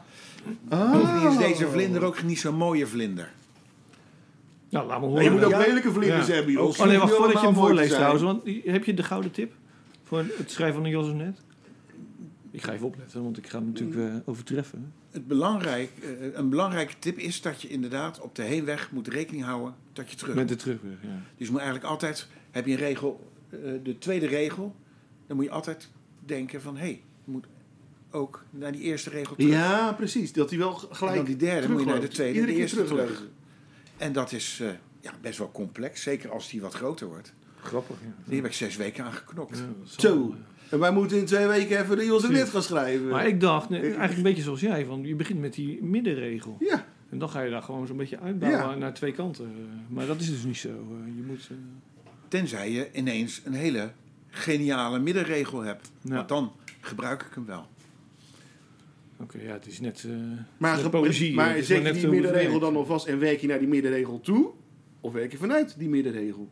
Oh. Ah. Bovendien is deze vlinder ook niet zo'n mooie vlinder. Nou, laat me Maar je moet horen. ook Ja. lelijke vlinders Ja. hebben, joh. Oh nee, Ze wacht hoeven voordat niet je hem allemaal mooi voorleest te trouwens. zijn. Want heb je de gouden tip voor het schrijven van de Jos net? Ik ga even opletten, want ik ga hem natuurlijk eh, overtreffen. Het belangrijk, eh, een belangrijke tip is dat je inderdaad op de heenweg moet rekening houden dat je terug Met de terugweg, ja. Dus je moet eigenlijk altijd, heb je een regel, eh, de tweede regel, dan moet je altijd denken van hé, hey, je moet ook naar die eerste regel terug. Ja, precies. Dat hij wel en gelijk dan Oh, nou, die derde moet je naar de terugloopt. tweede, Iedere de keer eerste terug. teruglezen. En dat is eh, ja, best wel complex, zeker als die wat groter wordt. Grappig, ja. Hier heb ik zes weken aan geknokt. Ja, dat zal wel, eh. Zo. En wij moeten in twee weken even de Jos en Net gaan schrijven. ja. Hm. Maar ik dacht, nee, eigenlijk een beetje zoals jij, van je begint met die middenregel. Ja. En dan ga je daar gewoon zo'n beetje uitbouwen Ja. naar twee kanten. eh. Maar dat is dus niet zo. eh, Je moet... eh, Tenzij je ineens een hele geniale middenregel hebt. Ja. Want dan gebruik ik hem wel. Oké, ja, het is net... eh, Maar, net ge- poëzie. Het maar is zet je net die hoe het middenregel werkt. dan alvast en werk je naar die middenregel toe? Of werk je vanuit die middenregel?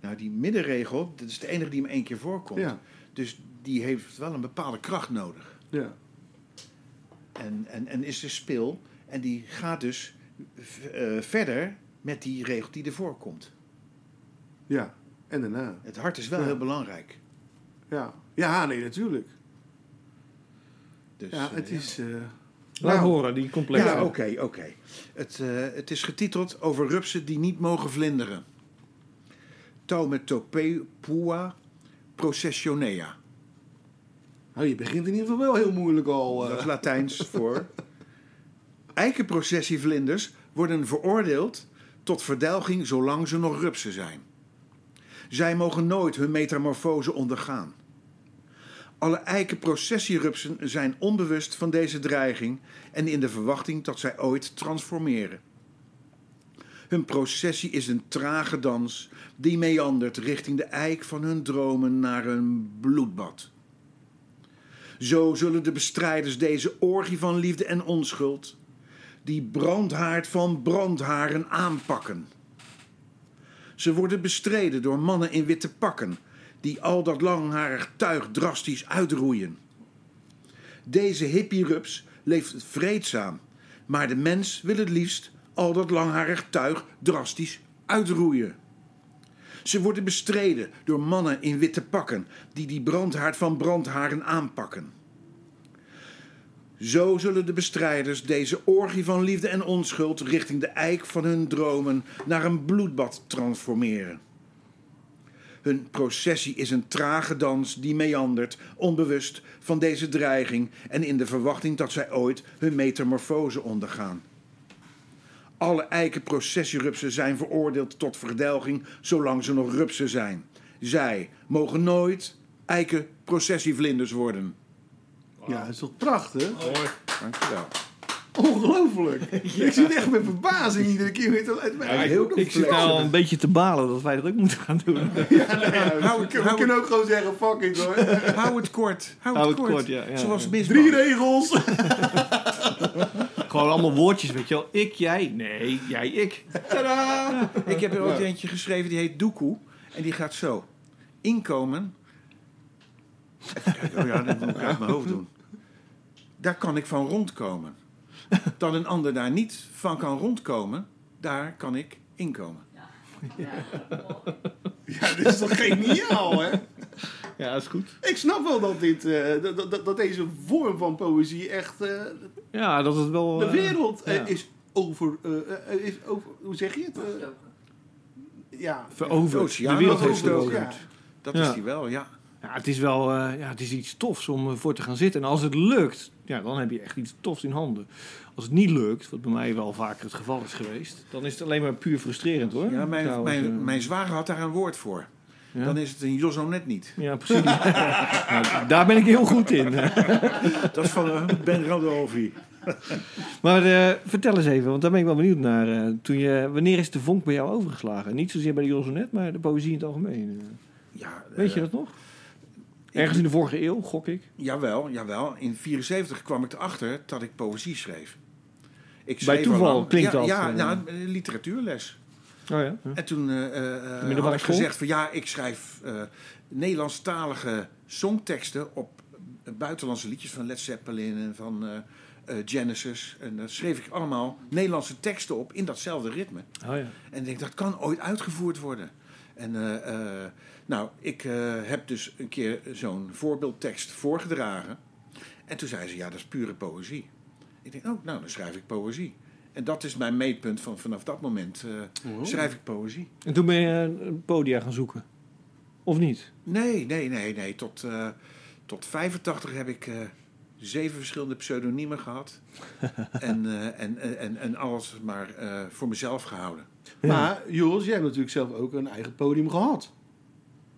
Nou, die middenregel, dat is de enige die me één keer voorkomt. Ja. Dus die heeft wel een bepaalde kracht nodig. ja. En, en, en is er spil. En die gaat dus eh, verder met die regel die ervoor komt. Ja. En daarna. Het hart is wel Ja. heel belangrijk. Ja. Ja, nee, natuurlijk. Dus, Ja, eh, het is... eh, Laat Nou. horen, die Ja, complexe. Ja, oké, oké. Het, eh, het is getiteld Over rupsen die niet mogen vlinderen. Taumetopepua processionea. nou, je begint in ieder geval wel heel moeilijk al. eh. Dat is Latijns voor. Eikenprocessievlinders worden veroordeeld tot verdelging zolang ze nog rupsen zijn. Zij mogen nooit hun metamorfose ondergaan. Alle eikenprocessierupsen zijn onbewust van deze dreiging en in de verwachting dat zij ooit transformeren. Hun processie is een trage dans die meandert richting de eik van hun dromen naar hun bloedbad. Zo zullen de bestrijders deze orgie van liefde en onschuld, die brandhaard van brandharen aanpakken. Ze worden bestreden door mannen in witte pakken, die al dat langharig tuig drastisch uitroeien. Deze hippierups leeft vreedzaam, maar de mens wil het liefst al dat langharig tuig drastisch uitroeien. Ze worden bestreden door mannen in witte pakken die die brandhaard van brandharen aanpakken. Zo zullen de bestrijders deze orgie van liefde en onschuld richting de eik van hun dromen naar een bloedbad transformeren. Hun processie is een trage dans die meandert, onbewust van deze dreiging en in de verwachting dat zij ooit hun metamorfose ondergaan. Alle eikenprocessierupsen zijn veroordeeld tot verdelging zolang ze nog rupsen zijn. Zij mogen nooit eikenprocessievlinders worden. Ja, dat is toch Oh, prachtig? Dankjewel. Ongelooflijk. Ik zit echt met verbazing iedere keer weer te... heel Ik zit nou al een beetje te balen dat wij dat ook moeten gaan doen. Hou we het- kunnen- we hou kunnen ook gewoon zeggen, fuck it hoor. Hou het kort. Hou, Hou het kort. ja, ja, Zoals ja. misbruik. Drie regels. Gewoon allemaal woordjes, weet je wel. Ik, jij. Nee, jij, ik. Tadaa! Ik heb er ook eentje geschreven, die heet Doekoe. En die gaat zo. Inkomen. Even kijken. Oh ja, dat moet ik uit mijn hoofd doen. Daar kan ik van rondkomen. Dat een ander daar niet van kan rondkomen, daar kan ik inkomen. Ja. Ja, dit is toch geniaal hè? Ja, is goed. Ik snap wel dat, dit, eh, dat, dat, dat deze vorm van poëzie echt... eh, Ja, dat is wel... de eh, wereld eh, ja. is, over, eh, eh, is over... Hoe zeg je het? Eh, ja. De eh, veroverd. oceaan De wereld wordt heeft overstoken. veroverd. Dat Ja. is die wel, ja. Ja, het is wel eh, ja, het is iets tofs om eh, voor te gaan zitten. En als het lukt, ja, dan heb je echt iets tofs in handen. Als het niet lukt, wat bij mij wel vaker het geval is geweest... dan is het alleen maar puur frustrerend, hoor. ja mijn, Trouwens, eh, mijn, mijn zwager had daar een woord voor. Ja? Dan is het een Jos net niet. Ja, precies. Ja, daar ben ik heel goed in. Dat is van eh, Ben Rodolfi. Maar eh, vertel eens even, want daar ben ik wel benieuwd naar. eh, toen je, wanneer is de vonk bij jou overgeslagen? Niet zozeer bij de Josonet, maar de poëzie in het algemeen. eh. Ja, eh, Weet je dat nog? Ergens in de vorige eeuw, gok ik. Jawel, jawel. In 74 kwam ik erachter dat ik poëzie schreef. Ik Bij toeval al lang- klinkt ja, dat, Ja, eh. nou, eh, literatuurles. Oh ja. ja. En toen eh, eh, middelbare had ik school? gezegd van ja, ik schrijf eh, Nederlandstalige songteksten op eh, buitenlandse liedjes van Led Zeppelin en van eh, eh, Genesis. En daar schreef ik allemaal Nederlandse teksten op in datzelfde ritme. Oh ja. En ik denk, dat kan ooit uitgevoerd worden. En eh, eh, nou, ik eh, heb dus een keer zo'n voorbeeldtekst voorgedragen. En toen zei ze, ja, dat is pure poëzie. Ik denk, oh, nou, dan schrijf ik poëzie. En dat is mijn meetpunt van vanaf dat moment eh, Oh. schrijf ik poëzie. En toen ben je eh, podia gaan zoeken. Of niet? Nee, nee, nee, nee. Tot, eh, tot 85 heb ik eh, zeven verschillende pseudoniemen gehad. en, eh, en, en, en, en alles maar eh, voor mezelf gehouden. Maar Jules, jij hebt natuurlijk zelf ook een eigen podium gehad.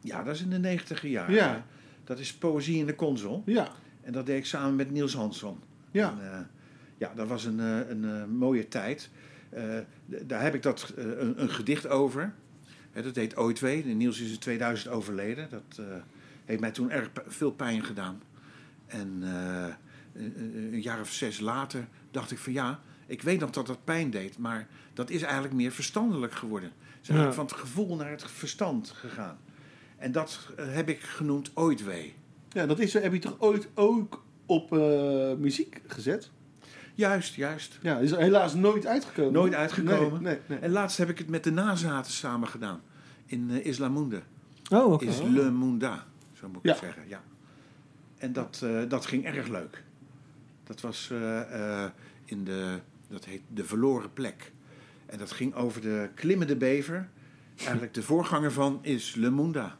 Ja, dat is in de negentiger jaren. Ja, Dat is Poëzie in de Consol. ja, En dat deed ik samen met Niels Hansson. ja. En, eh, ja, dat was een, eh, een eh, mooie tijd. Eh, d- daar heb ik dat, eh, een, een gedicht over. Hè, dat deed ooit twee. Niels is in 2000 overleden. Dat eh, heeft mij toen erg p- veel pijn gedaan. En eh, eh, eh, een jaar of zes later dacht ik van ja, ik weet nog dat dat pijn deed, maar dat is eigenlijk meer verstandelijk geworden. Het is eigenlijk Ja. van het gevoel naar het verstand gegaan. En dat eh, heb ik genoemd ooit wee. Ja, dat is, heb je toch ooit ook op eh, muziek gezet? Juist, juist. Ja, is helaas nooit uitgekomen. Nooit uitgekomen. Nee, nee, nee. En laatst heb ik het met de nazaten samen gedaan. In eh Islamunda. Oh, oké. Is Le Munda, zo moet ik Ja. het zeggen. Ja. En dat, eh, dat ging erg leuk. Dat was eh, eh, in de, dat heet De Verloren Plek. En dat ging over de klimmende bever. Eigenlijk de voorganger van is Le Munda.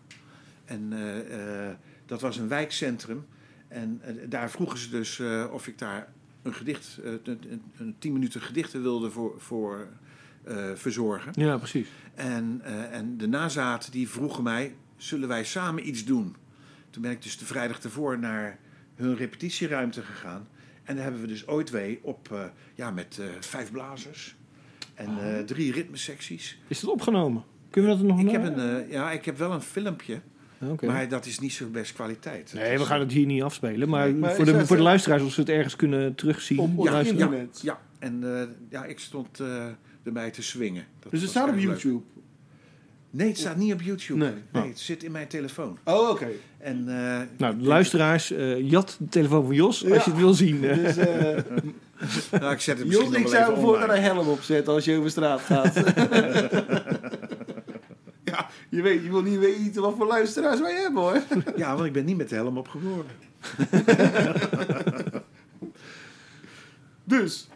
En eh, eh, dat was een wijkcentrum. En eh, daar vroegen ze dus eh, of ik daar een gedicht, eh, een, een, een tien minuten gedichten wilde voor, voor eh, verzorgen. Ja, precies. En, eh, en de nazaten die vroegen mij, zullen wij samen iets doen? Toen ben ik dus de vrijdag ervoor naar hun repetitieruimte gegaan. En daar hebben we dus ooit twee op, eh, ja, met eh, vijf blazers en Oh. eh, drie ritmesecties. Is dat opgenomen? Kunnen we dat er nog Ik na- heb, een, eh, ja, ik heb wel een filmpje, Oké. maar dat is niet zo best kwaliteit. Dat Nee, is- we gaan het hier niet afspelen. Maar, maar voor, is de, dat- voor de luisteraars, of ze het ergens kunnen terugzien. Op- op luisteren. internet. Ja, en eh, ja, ik stond eh, erbij te swingen. Dat Dus het was staat op erg leuk. YouTube. Nee, het staat niet op YouTube. Nee. Nee, het zit in mijn telefoon. Oh, oké. En, eh, Nou, de luisteraars, eh, jat de telefoon van Jos als Ja. je het wil zien. eh. Dus, eh, Nou, ik zet het misschien Jos, ik nog wel zou even ervoor online. naar een helm opzetten als je over straat gaat. ja, je, weet, je wil niet weten wat voor luisteraars wij hebben hoor. Ja, want ik ben niet met de helm opgeboren. Dus,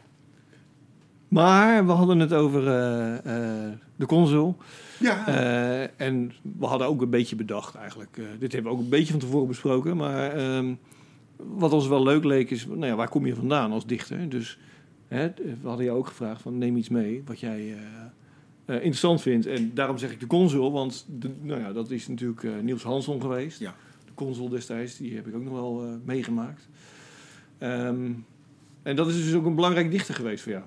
Maar we hadden het over eh, eh, de console. ja. Eh, en we hadden ook een beetje bedacht eigenlijk. eh, dit hebben we ook een beetje van tevoren besproken. Maar ehm, wat ons wel leuk leek is, nou ja, waar kom je vandaan als dichter? Dus hè, we hadden jou ook gevraagd van neem iets mee wat jij eh, eh, interessant vindt. En daarom zeg ik de consul, want de, nou ja, dat is natuurlijk eh, Niels Hansson geweest. Ja. De consul destijds, die heb ik ook nog wel eh, meegemaakt. Ehm, en dat is dus ook een belangrijk dichter geweest voor jou.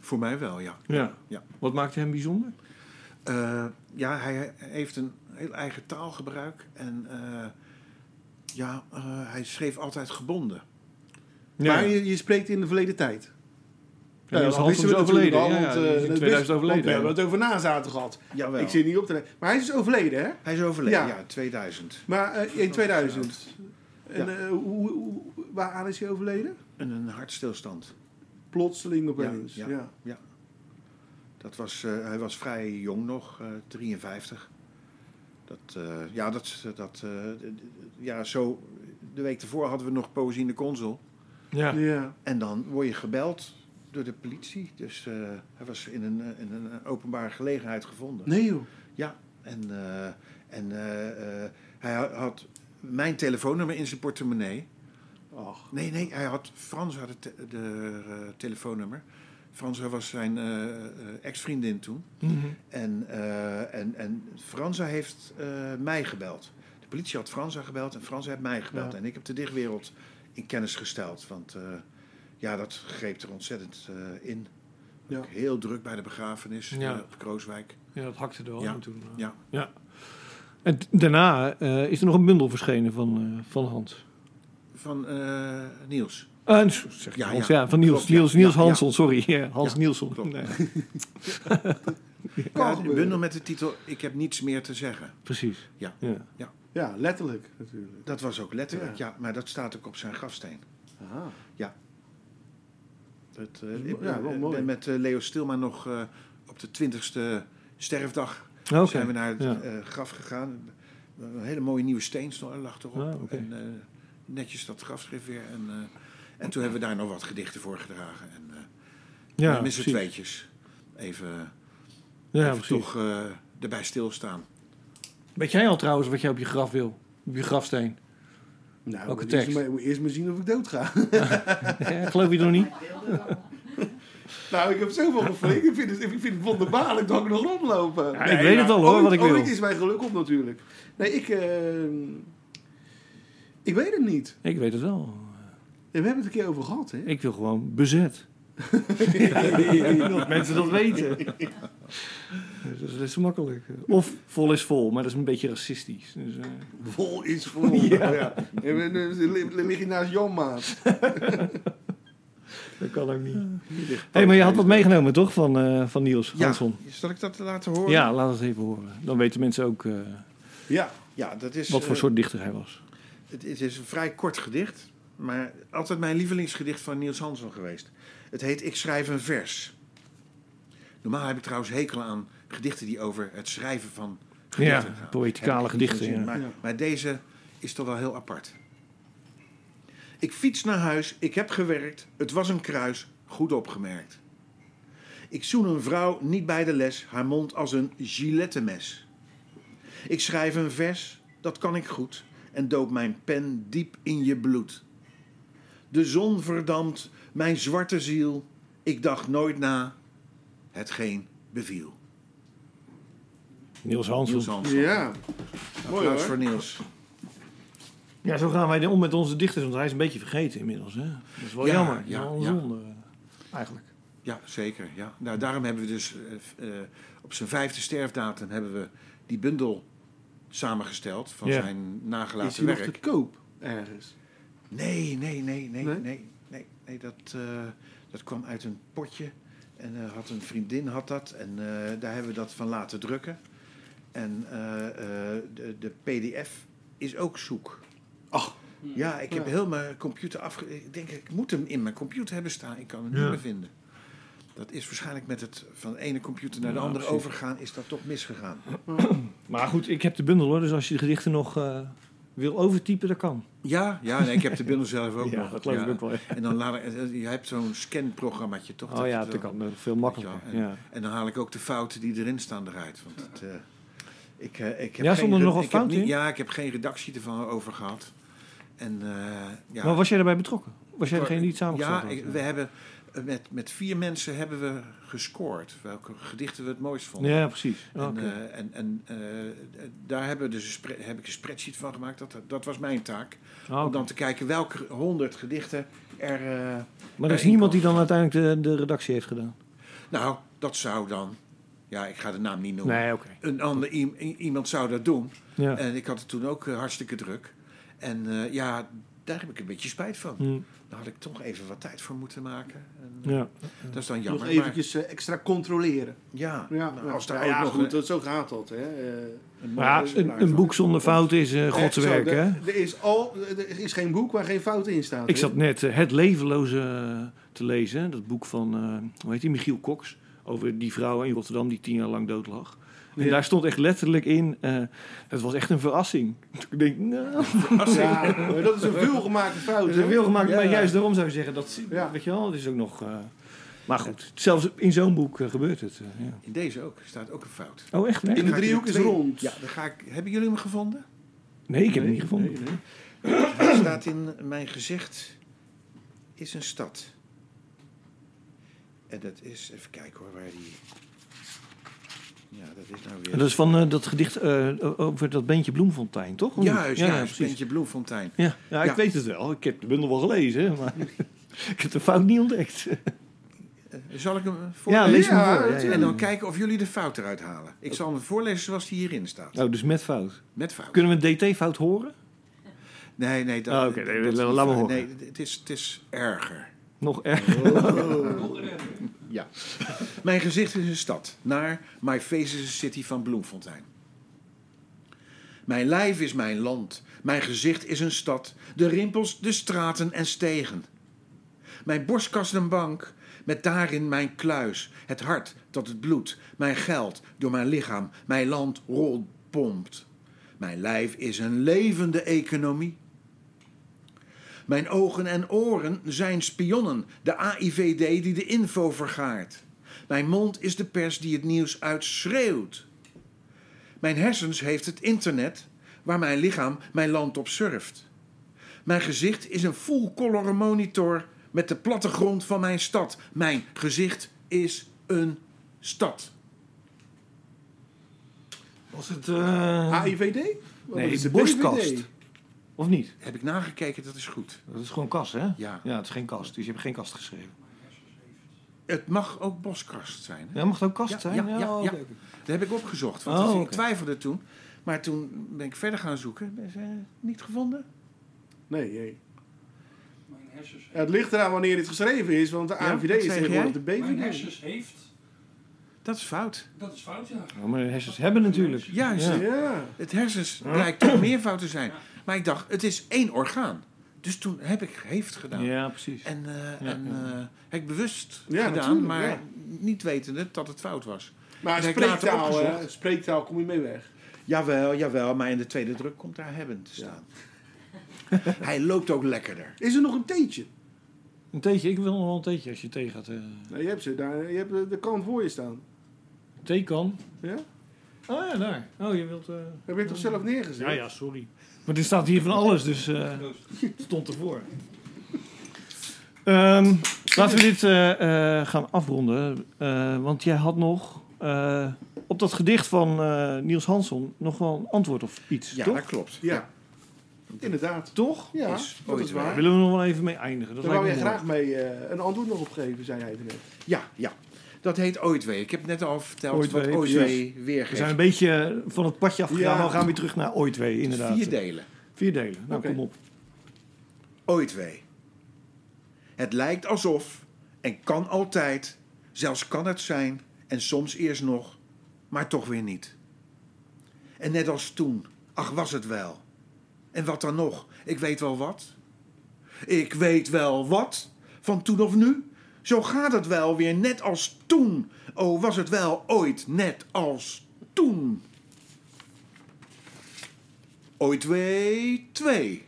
Voor mij wel, ja. Ja. Ja. Wat maakte hem bijzonder? Eh, ja, hij heeft een heel eigen taalgebruik. En eh, ja, eh, hij schreef altijd gebonden. Ja. Maar je, je spreekt in de verleden tijd. Nou, Ja, dat is dat half wisten is we natuurlijk overleden. al, ja, want, ja, die eh, is in dat 2000 wisten- want We overleden. hebben het over nazaten gehad. Jawel. Ik zit niet op te nemen. Maar hij is dus overleden, hè? Hij is overleden, Ja. ja, 2000. Maar eh, in 2000. En Ja. eh, hoe, hoe, waaraan is hij overleden? En een hartstilstand. Plotseling opeens. Ja, Ja, ja. Dat was, eh, hij was vrij jong nog, eh, 53. Dat, eh, ja, dat, dat, eh, d- d- ja, zo... De week ervoor hadden we nog Poëzie in de Consul. Ja. Ja. En dan word je gebeld door de politie. Dus eh, hij was in een, eh, in een openbare gelegenheid gevonden. Nee joh. Ja, en, eh, en eh, eh, hij ha- had mijn telefoonnummer in zijn portemonnee. Ach. Nee, nee, hij had Frans had het te- de, eh, telefoonnummer. Frans was zijn eh, eh, ex-vriendin toen. En, eh, en, en Franza heeft eh, mij gebeld. De politie had Franza gebeld en Franza heeft mij gebeld. Ja. En ik heb de dichtwereld in kennis gesteld. Want eh, ja, dat greep er ontzettend eh, in. Ja. Ook Heel druk bij de begrafenis Ja. eh, op Krooswijk. ja, dat hakte er wel Ja. aan toen. eh. Ja. Ja. En t- daarna eh, is er nog een bundel verschenen van, eh, van Hans. Van eh, Niels. Eh, nee, zeg ik Ja, Hans, ja. ja. van Niels. Klopt, ja. Niels, Niels Ja, ja. Hansson, sorry. Ja, Hans Ja, Nielsen. klopt. Nee. Kan Ja, een gebeuren. bundel met de titel Ik heb niets meer te zeggen. Precies. Ja. ja. Ja, letterlijk natuurlijk. Dat was ook letterlijk, ja. maar dat staat ook op zijn grafsteen. Ah, Dat, eh, Ja, ik wel eh, mooi. ben met eh, Leo Stilma nog eh, op de 20ste sterfdag Nou, Oké. zijn we naar het Ja. eh, graf gegaan. Een hele mooie nieuwe steen stond- lag erop. Ah, oké. En eh, netjes dat grafschrift weer. En, eh, en toen hebben we daar nog wat gedichten voor gedragen. En eh ja, met z'n precies. tweetjes even, Ja, even precies. toch eh, erbij stilstaan. Weet jij al trouwens wat jij op je graf wil? Op je grafsteen? nou, Welke moet eerst tekst? maar- moet eerst maar zien of ik dood ga. Ja, Geloof je nog niet? Hij wilde dat. Nou, ik heb zoveel geflikt. Ik vind het, ik vind het wonderbaarlijk dat ik nog rondlopen. Ja, ik weet het al, hoor, ooit- wat ik wil. Ooit is mijn geluk op natuurlijk. Nee, ik... eh, ik weet het niet. Ik weet het wel. We hebben het een keer over gehad, hè? Ik wil gewoon bezet. Dat mensen dat weten. Dus dat is best makkelijk. Of vol is vol, maar dat is een beetje racistisch. Dus, eh, Vol is vol. Ja. Ja. En we- we- we- Lig je naast Jan, maat. dat kan ook niet. hey, maar je had wat meegenomen toch van, eh, van Niels Gansson? Ja, zal ik dat laten horen? Ja, laat het even horen. Dan weten mensen ook eh, Ja. Ja, dat is, wat voor eh, soort dichter hij was. Het, het is een vrij kort gedicht, maar altijd mijn lievelingsgedicht van Niels Hansson geweest. Het heet Ik schrijf een vers. Normaal heb ik trouwens hekel aan gedichten die over het schrijven van gedichten Ja, gaan. poëticale Heb ik niet zo'n gedichten, ja. Maar, Ja. maar deze is toch wel heel apart. Ik fiets naar huis, ik heb gewerkt, het was een kruis, goed opgemerkt. Ik zoen een vrouw niet bij de les, haar mond als een gilettemes. Ik schrijf een vers, dat kan ik goed, en doop mijn pen diep in je bloed. De zon verdampt mijn zwarte ziel, ik dacht nooit na, hetgeen beviel. Niels Hansson. Niels Hansson. Ja. Mooi Applaus Nou, voor hoor. Niels. Ja, zo gaan wij om met onze dichters, want hij is een beetje vergeten inmiddels. Hè? Dat is wel Ja, jammer. ja, Ja, wel een ja. zonde, eh, Eigenlijk. Ja, zeker. Ja. Nou, daarom hebben we dus eh, f- eh, op zijn vijfde sterfdatum hebben we die bundel samengesteld van Ja. zijn Is nagelaten hij nog te werk. koop ergens? Nee, nee, nee, nee, Nee? nee, nee, nee, dat, eh, dat kwam uit een potje en eh, had een vriendin had dat en eh, daar hebben we dat van laten drukken. En eh, eh, de, de PDF is ook zoek. Ach. Ja, ik heb Ja. heel mijn computer afge... Ik denk, ik moet hem in mijn computer hebben staan. Ik kan hem Ja. niet meer vinden. Dat is waarschijnlijk met het van de ene computer naar de Ja, andere precies. overgaan... is dat toch misgegaan. Maar goed, ik heb de bundel hoor, dus als je de gedichten nog eh, wil overtypen, dat kan. Ja, ja nee, ik heb de bundel zelf ook ja, nog. dat geloof Ja. ik ook wel. ja. En dan laat ik... eh, Je hebt zo'n scanprogrammaatje, toch? Oh je ja, het dat wel- kan eh, veel Weet makkelijker. je wel, Ja. En dan haal ik ook de fouten die erin staan eruit. Want het, eh, ik, eh, ik heb Ja, geen stonden er red- nog wat ik heb fouten niet- in? Ja, ik heb geen redactie ervan over gehad. En, eh, ja. Maar was jij daarbij betrokken? Was jij degene die het samengesteld Ja, had? ik- we hebben eh, met, met vier mensen hebben we gescoord. Welke gedichten we het mooist vonden. Ja, precies. En, Oké. eh, en, en eh, eh, daar hebben we dus een spre- heb ik een spreadsheet van gemaakt. Dat, dat was mijn taak. Ah, oké. Om dan te kijken welke honderd gedichten er... eh, Maar er is eh, niemand die dan uiteindelijk de, de redactie heeft gedaan? Nou, dat zou dan... Ja, ik ga de naam niet noemen. oké. Een ander, i- i- iemand zou dat doen. Ja. En ik had het toen ook eh, hartstikke druk. En eh, ja, daar heb ik een beetje spijt van. Hm, Daar had ik toch even wat tijd voor moeten maken. En, eh, ja. Dat is dan jammer. Nog maar- eventjes eh, extra controleren. Ja, Ja, nou, ja. als daar Ja, ja, ook nog goed, een, dat, zo gaat dat. Hè. Eh, een Maar ja, exemplaar een, een van- boek zonder fout is eh Gods Echt zo, werk, er- hè? Er is, al, er is geen boek waar geen fout in staat. Ik hè? zat net eh, Het Levenloze eh, te lezen. hè. Dat boek van, eh, hoe heet die, Michiel Cox. Over die vrouw in Rotterdam die tien jaar lang dood lag. En Ja. daar stond echt letterlijk in, eh, het was echt een verrassing. Ik denk, nou, Ja, maar dat is een veelgemaakte fout. dat is een hè? Dus wil gemaakt. Ja. Maar juist daarom zou je zeggen, dat Ja. weet je wel, het is ook nog... eh, maar goed, zelfs in zo'n boek eh, gebeurt het. eh, ja. In deze ook staat ook een fout. Oh, echt? In Nee, de Ga ik driehoek nu is twee- rond. Ja, dan ga ik, hebben jullie hem gevonden? nee ik heb hem niet gevonden. Nee, nee. Hij staat in mijn gezicht is een stad. En dat is, even kijken hoor, waar die... Ja, dat is nou weer... Dat is van eh, dat gedicht eh, over dat bandje Bloemfontein, toch? Of niet? Juist, ja, juist, precies. Bentje Bloemfontein. Ja, ja ik Ja. weet het wel. Ik heb de bundel wel gelezen, hè, maar ik heb de fout niet ontdekt. Eh, Zal ik hem Ja, voorlezen? lees hem Ja, voor. Ja, ja, En dan kijken of jullie de fout eruit halen. Ik zal hem voorlezen zoals die hierin staat. Oh, dus met fout. Met fout. Kunnen we een DT-fout horen? Nee, nee. Dat, Ah, oké, nee, dat is laat niet maar waar. horen. Nee, het is, het is erger. Nog erg. ja. Mijn gezicht is een stad, naar My Face is a City van Bloemfontein. Mijn lijf is mijn land, mijn gezicht is een stad, de rimpels, de straten en stegen. Mijn borstkast een bank, met daarin mijn kluis, het hart dat het bloed, mijn geld door mijn lichaam, mijn land rolt, pompt. Mijn lijf is een levende economie. Mijn ogen en oren zijn spionnen, de AIVD die de info vergaart. Mijn mond is de pers die het nieuws uitschreeuwt. Mijn hersens heeft het internet, waar mijn lichaam mijn land op surft. Mijn gezicht is een full-color monitor met de plattegrond van mijn stad. Mijn gezicht is een stad. Was het... eh, Ah, AIVD? Wat Nee, is de borstkast. BVD? Of niet? Heb ik nagekeken, dat is goed. Dat is gewoon kast, hè? Ja. Ja, het is geen kast. Dus je hebt geen kast geschreven. Het mag ook boskast zijn. hè? Ja, mag het ook kast Ja, zijn? ja, ja, oké, ja. oké. Dat heb ik opgezocht, want Oh, dat- ik oké. twijfelde toen. Maar toen ben ik verder gaan zoeken. Ben ze eh, niet gevonden? Nee, nee. Mijn hersens Ja, het ligt eraan wanneer dit geschreven is, want de Ja, AIVD wat is zeg tegenwoordig de jij? Mijn BVD. hersens heeft, Dat is fout. dat is fout ja. Ja, maar de hersens hebben natuurlijk. Juist. Ja. Ja. Het hersens blijkt toch meervoud te zijn. Maar ik dacht, het is één orgaan. Dus toen heb ik heeft gedaan. Ja, precies. En, eh, Ja, en ja. eh, heb ik bewust Ja, gedaan, natuurlijk, maar ja. niet wetende dat het fout was. Maar Dat heb ik later spreektaal, hè, opgezocht. spreektaal kom je mee weg. Jawel, jawel, maar in de tweede druk komt daar hebben te staan. Hij loopt ook lekkerder. Is er nog een theetje? Een theetje. Ik wil nog wel een theetje als je thee gaat. eh Nee, Nou, je hebt ze daar, je hebt eh, de kan voor je staan. thee kan. Ja? Oh ja, daar. Oh, je wilt... eh, Heb je het toch zelf neergezet? Ja, ja, sorry. Maar er staat hier van alles, dus eh, het stond ervoor. Ehm, laten we dit eh, eh, gaan afronden. eh, want jij had nog eh, op dat gedicht van eh, Niels Hansson nog wel een antwoord of iets, Ja, toch? dat klopt. Ja. Inderdaad. Toch? Ja, Is dat ooit is waar. Daar willen we nog wel even mee eindigen. Dat Daar wou je lijkt me graag mee eh, een antwoord nog op geven, zei hij net. Ja, ja. Dat heet Ooitwee. Ik heb net al verteld Ooit wat Wee, Ooitwee weer We zijn een beetje van het padje afgegaan, Ja. maar we gaan weer terug naar ooit weer, inderdaad. Vier delen. Vier delen. Nou, Oké. kom op. ooit wee. Het lijkt alsof en kan altijd, zelfs kan het zijn en soms eerst nog, maar toch weer niet. En net als toen, ach was het wel. En wat dan nog? Ik weet wel wat. Ik weet wel wat van toen of nu. Zo gaat het wel weer net als toen. Oh, was het wel ooit net als toen. Ooit wee twee.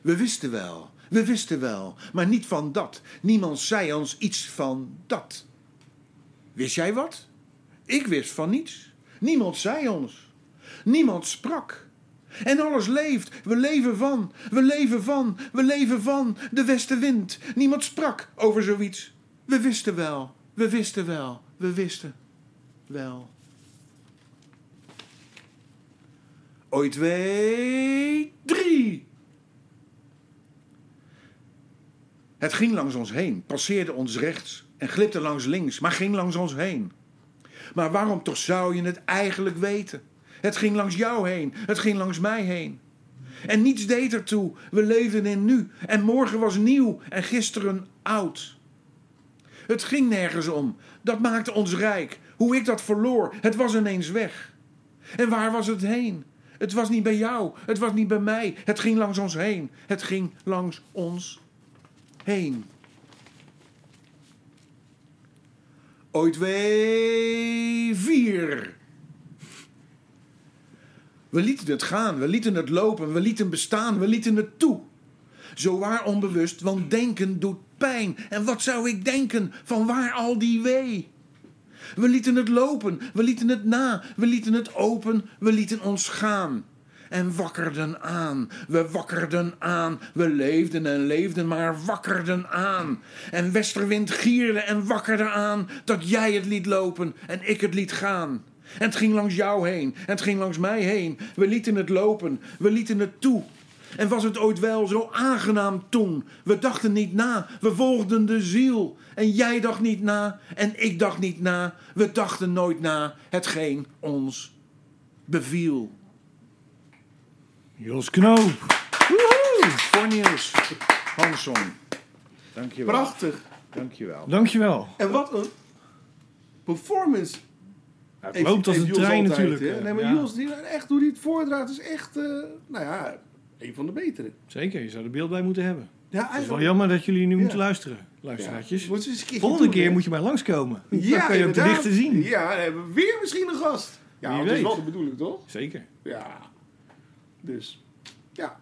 We wisten wel, we wisten wel, maar niet van dat. Niemand zei ons iets van dat. Wist jij wat? Ik wist van niets. Niemand zei ons. Niemand sprak. En alles leeft. We leven van, we leven van, we leven van de westenwind. Niemand sprak over zoiets. We wisten wel, we wisten wel, we wisten wel. Ooit twee, drie. Het ging langs ons heen, passeerde ons rechts en glipte langs links, maar ging langs ons heen. Maar waarom toch zou je het eigenlijk weten? Het ging langs jou heen, het ging langs mij heen. En niets deed ertoe, we leefden in nu en morgen was nieuw en gisteren oud. Het ging nergens om, dat maakte ons rijk. Hoe ik dat verloor, het was ineens weg. En waar was het heen? Het was niet bij jou, het was niet bij mij, het ging langs ons heen, het ging langs ons heen. Ooit wee vier. We lieten het gaan, we lieten het lopen, we lieten bestaan, we lieten het toe. Zowaar onbewust, want denken doet pijn. En wat zou ik denken, van waar al die wee? We lieten het lopen, we lieten het na, we lieten het open, we lieten ons gaan. En wakkerden aan, we wakkerden aan, we leefden en leefden, maar wakkerden aan. En Westerwind gierde en wakkerde aan dat jij het liet lopen en ik het liet gaan. En het ging langs jou heen, en het ging langs mij heen, we lieten het lopen, we lieten het toe. En was het ooit wel zo aangenaam toen? We dachten niet na, we volgden de ziel. En jij dacht niet na, en ik dacht niet na. We dachten nooit na, hetgeen ons beviel. Jos Knoop. Voor Niels Hansson. Dankjewel. Prachtig. Dankjewel. Dankjewel. En wat een performance. Het heeft- loopt als heeft een Jos trein altijd, natuurlijk. hè. eh, Nee, maar ja. Jos, die, echt hoe die het voordraagt, is echt, eh, nou ja, een van de betere. Zeker, je zou er beeld bij moeten hebben. Ja, Het is wel jammer dat jullie nu moeten luisteren, Ja. luisteraartjes. Moet ze eens een keertje Volgende doen, keer hè. moet je maar langskomen. Ja, Dan kan je op de inderdaad. dichte zien. Ja, dan hebben we weer misschien een gast. Wie Ja, want dat is weet. wel de bedoeling, toch? Zeker. Ja. Dus, ja.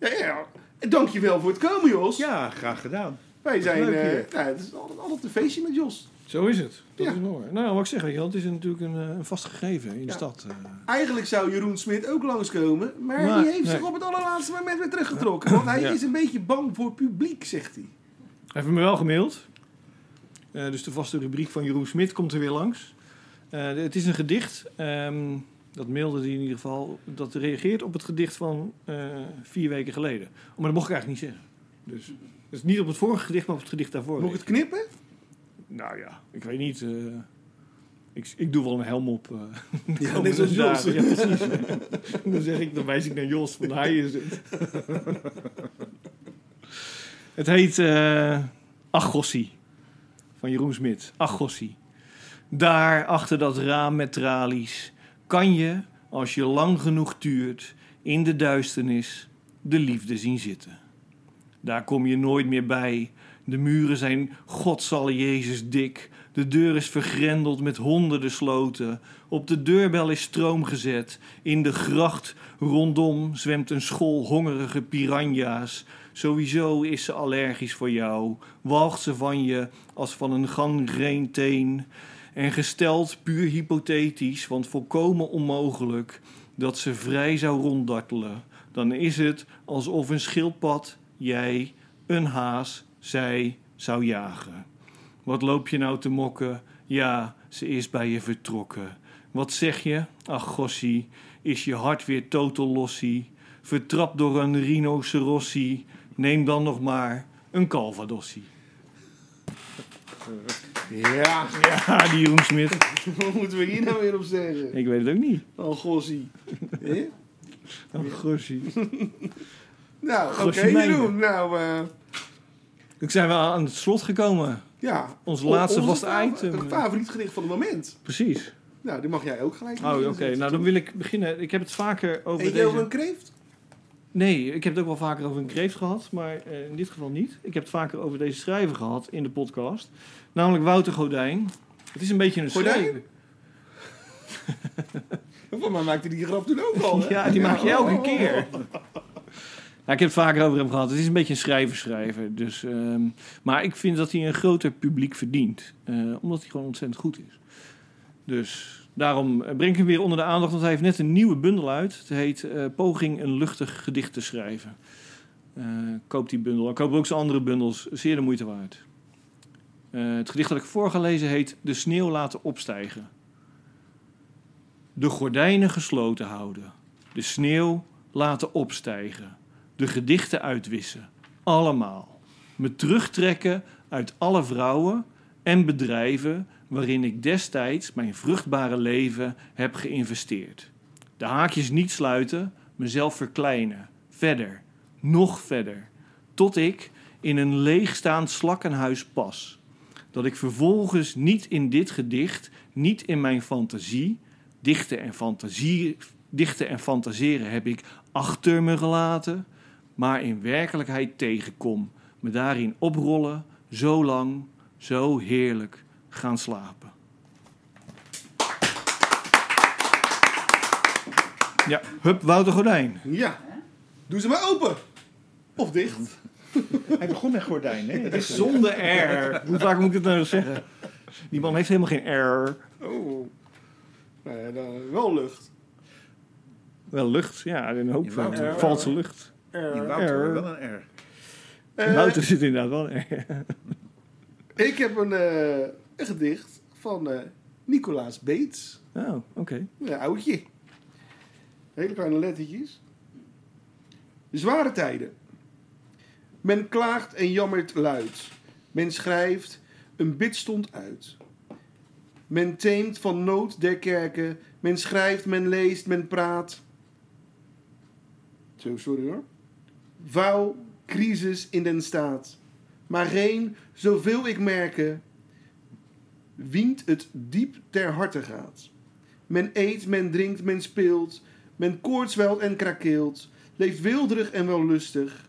Ja, ja, ja. En Dankjewel voor het komen, Jos. Ja, graag gedaan. Wij zijn, leuk eh, hier. nou, het is altijd, altijd een feestje met Jos. Zo is het. Dat Ja. is mooi. Nou, wat ik zeg, weet je wel, het is natuurlijk een, eh, een vast gegeven in de Ja. stad. eh. Eigenlijk zou Jeroen Smit ook langskomen, maar Maar, die heeft zich nee. op het allerlaatste moment weer teruggetrokken. Want hij Ja. is een beetje bang voor publiek, zegt hij. Hij heeft me wel gemaild. Eh, dus de vaste rubriek van Jeroen Smit komt er weer langs. Eh, het is een gedicht. ehm, dat mailde hij in ieder geval. Dat reageert op het gedicht van eh, vier weken geleden. Oh, maar dat mocht ik eigenlijk niet zeggen. Dus, dus niet op het vorige gedicht, maar op het gedicht daarvoor. Moet ik het knippen? Nou ja, ik weet niet. eh, ik, ik doe wel een helm op. eh, de Ja, komende net als Jos. dagen. Ja, precies. dan zeg ik, dan wijs ik naar Jos, want hij is het. het heet eh Achossie van Jeroen Smit. Achossie. Daar achter dat raam met tralies kan je, als je lang genoeg tuurt, in de duisternis de liefde zien zitten. Daar kom je nooit meer bij. De muren zijn godsalle Jezus dik. De deur is vergrendeld met honderden sloten. Op de deurbel is stroom gezet. In de gracht rondom zwemt een school hongerige piranha's. Sowieso is ze allergisch voor jou. Walgt ze van je als van een gangreenteen. En gesteld puur hypothetisch, want volkomen onmogelijk, dat ze vrij zou ronddartelen. Dan is het alsof een schildpad jij een haas, zij zou jagen. Wat loop je nou te mokken? Ja, ze is bij je vertrokken. Wat zeg je? Ach, gossie, is je hart weer total lossie? Vertrapt door een rhinocerossie, neem dan nog maar een calvadossie. Ja, Ja, die Jeroen Smit. wat moeten we hier nou weer op zeggen? Ik weet het ook niet. Oh, gossie. Hè? Ach, gossie. nou, oké, Gossie mijnen. Jeroen. Nou, eh, Ik zijn we aan het slot gekomen. ja. Ons O- laatste onze vaste fa- item. eh. Het favoriet gedicht van het moment. Precies. Nou, die mag jij ook gelijk Oh, oké. beginnen, zegt hij. Nou, dan wil ik beginnen. Ik heb het vaker over Eet deze... je over een kreeft? Nee, ik heb het ook wel vaker over een kreeft gehad, maar eh, in dit geval niet. Ik heb het vaker over deze schrijver gehad in de podcast. Namelijk Wouter Godijn. Het is een beetje een Gordijn? schrijver. Van mij maakte die grap toen ook al, hè? Oh. Ja, die maak je Ja. elke keer. Nou, ik heb het vaker over hem gehad. Het is een beetje een schrijverschrijver. Dus, ehm, maar ik vind dat hij een groter publiek verdient. eh, omdat hij gewoon ontzettend goed is. Dus daarom eh, breng ik hem weer onder de aandacht. Want hij heeft net een nieuwe bundel uit. Het heet eh, Poging een luchtig gedicht te schrijven. Eh, koop die bundel. En koop ook zijn andere bundels. Zeer de moeite waard. Eh, het gedicht dat ik voorgelezen heet De sneeuw laten opstijgen. De gordijnen gesloten houden. De sneeuw laten opstijgen. De gedichten uitwissen. Allemaal. Me terugtrekken uit alle vrouwen en bedrijven waarin ik destijds mijn vruchtbare leven heb geïnvesteerd. De haakjes niet sluiten, mezelf verkleinen. Verder, nog verder. Tot ik in een leegstaand slakkenhuis pas. Dat ik vervolgens niet in dit gedicht, niet in mijn fantasie, dichten en, fantasie, dichten en fantaseren heb ik achter me gelaten, maar in werkelijkheid tegenkom, me daarin oprollen, zo lang, zo heerlijk gaan slapen. Ja, hup, Wouter Gordijn. Ja. Doe ze maar open. Of dicht. Hij begon met gordijn, hè? Het is zonder R. Hoe vaak moet ik het nou zeggen? Die man heeft helemaal geen R. Oh. Nou ja, dan wel lucht. Wel lucht, ja, een hoop Ja, van Wouter. valse lucht. Die Wouter, wel een R. Eh, Wouter zit inderdaad wel een R. Ik heb een, eh, een gedicht van eh, Nicolaas Beets. Oh, oké. Een oudje. Hele kleine lettertjes. Zware tijden. Men klaagt en jammert luid. Men schrijft, een bid stond uit. Men teemt van nood der kerken. Men schrijft, men leest, men praat. Zo, sorry hoor. Vouw, crisis in den staat. maar geen, zoveel ik merken, wient het diep ter harte gaat. Men eet, men drinkt, men speelt, men koortswelt en krakeelt, leeft wilderig en wellustig,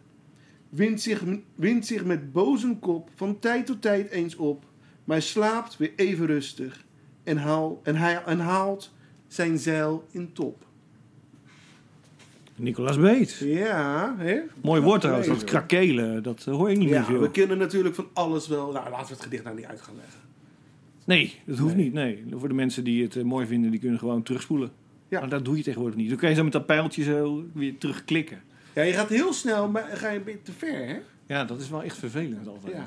wint zich, wint zich met bozen kop van tijd tot tijd eens op, maar slaapt weer even rustig en, haal, en, hij, en haalt zijn zeil in top. Nicolaas Beet. Ja, hè? Mooi woord trouwens, nee, dat joh. krakelen, dat eh, hoor ik niet meer Ja, veel. we kennen natuurlijk van alles wel. Nou, laten we het gedicht nou niet uit gaan leggen. Nee, dat hoeft Nee. niet. Nee. Voor de mensen die het eh, mooi vinden, die kunnen gewoon terugspoelen. Ja. Maar dat doe je tegenwoordig niet. Dan kan je zo met dat pijltje zo weer terugklikken. Ja, je gaat heel snel, maar ga je een beetje te ver, hè? Ja, dat is wel echt vervelend altijd. Ja.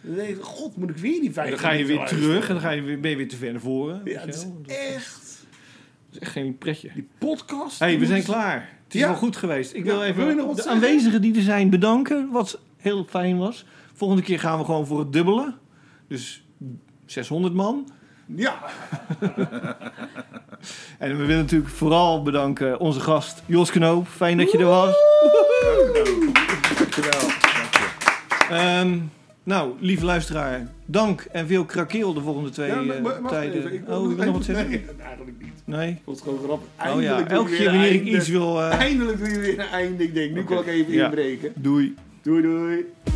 Ja. Nee, God, moet ik weer die vijf dan ga je minuten weer luisteren? terug en dan ga je weer, ben je weer te ver naar voren. weet Ja, je het wel. is dat echt... is echt geen pretje. Die podcast... hey, we moet- zijn klaar. Het is Ja. wel goed geweest. Ik wil Ja, even wil je nog wat de zeggen? aanwezigen die er zijn bedanken. Wat heel fijn was. Volgende keer gaan we gewoon voor het dubbele. Dus 600 man. Ja, En we willen natuurlijk vooral bedanken onze gast Jos Knoop. Fijn dat je er was. Dankjewel. Dankjewel. Ehm, nou, lieve luisteraar, dank en veel krakeel de volgende twee ja eh, maar- maar wacht tijden. even, ik wil oh, je wil nog wat even- zeggen? Nee, eigenlijk niet. Nee? Ik vond het gewoon grappig. Oh Eindelijk ja, doe je elke weer keer een wanneer ik einde. iets wil... eh, Eindelijk doe je weer een einde. Ik denk, nu kan ik even Ja. inbreken. doei. Doei, doei.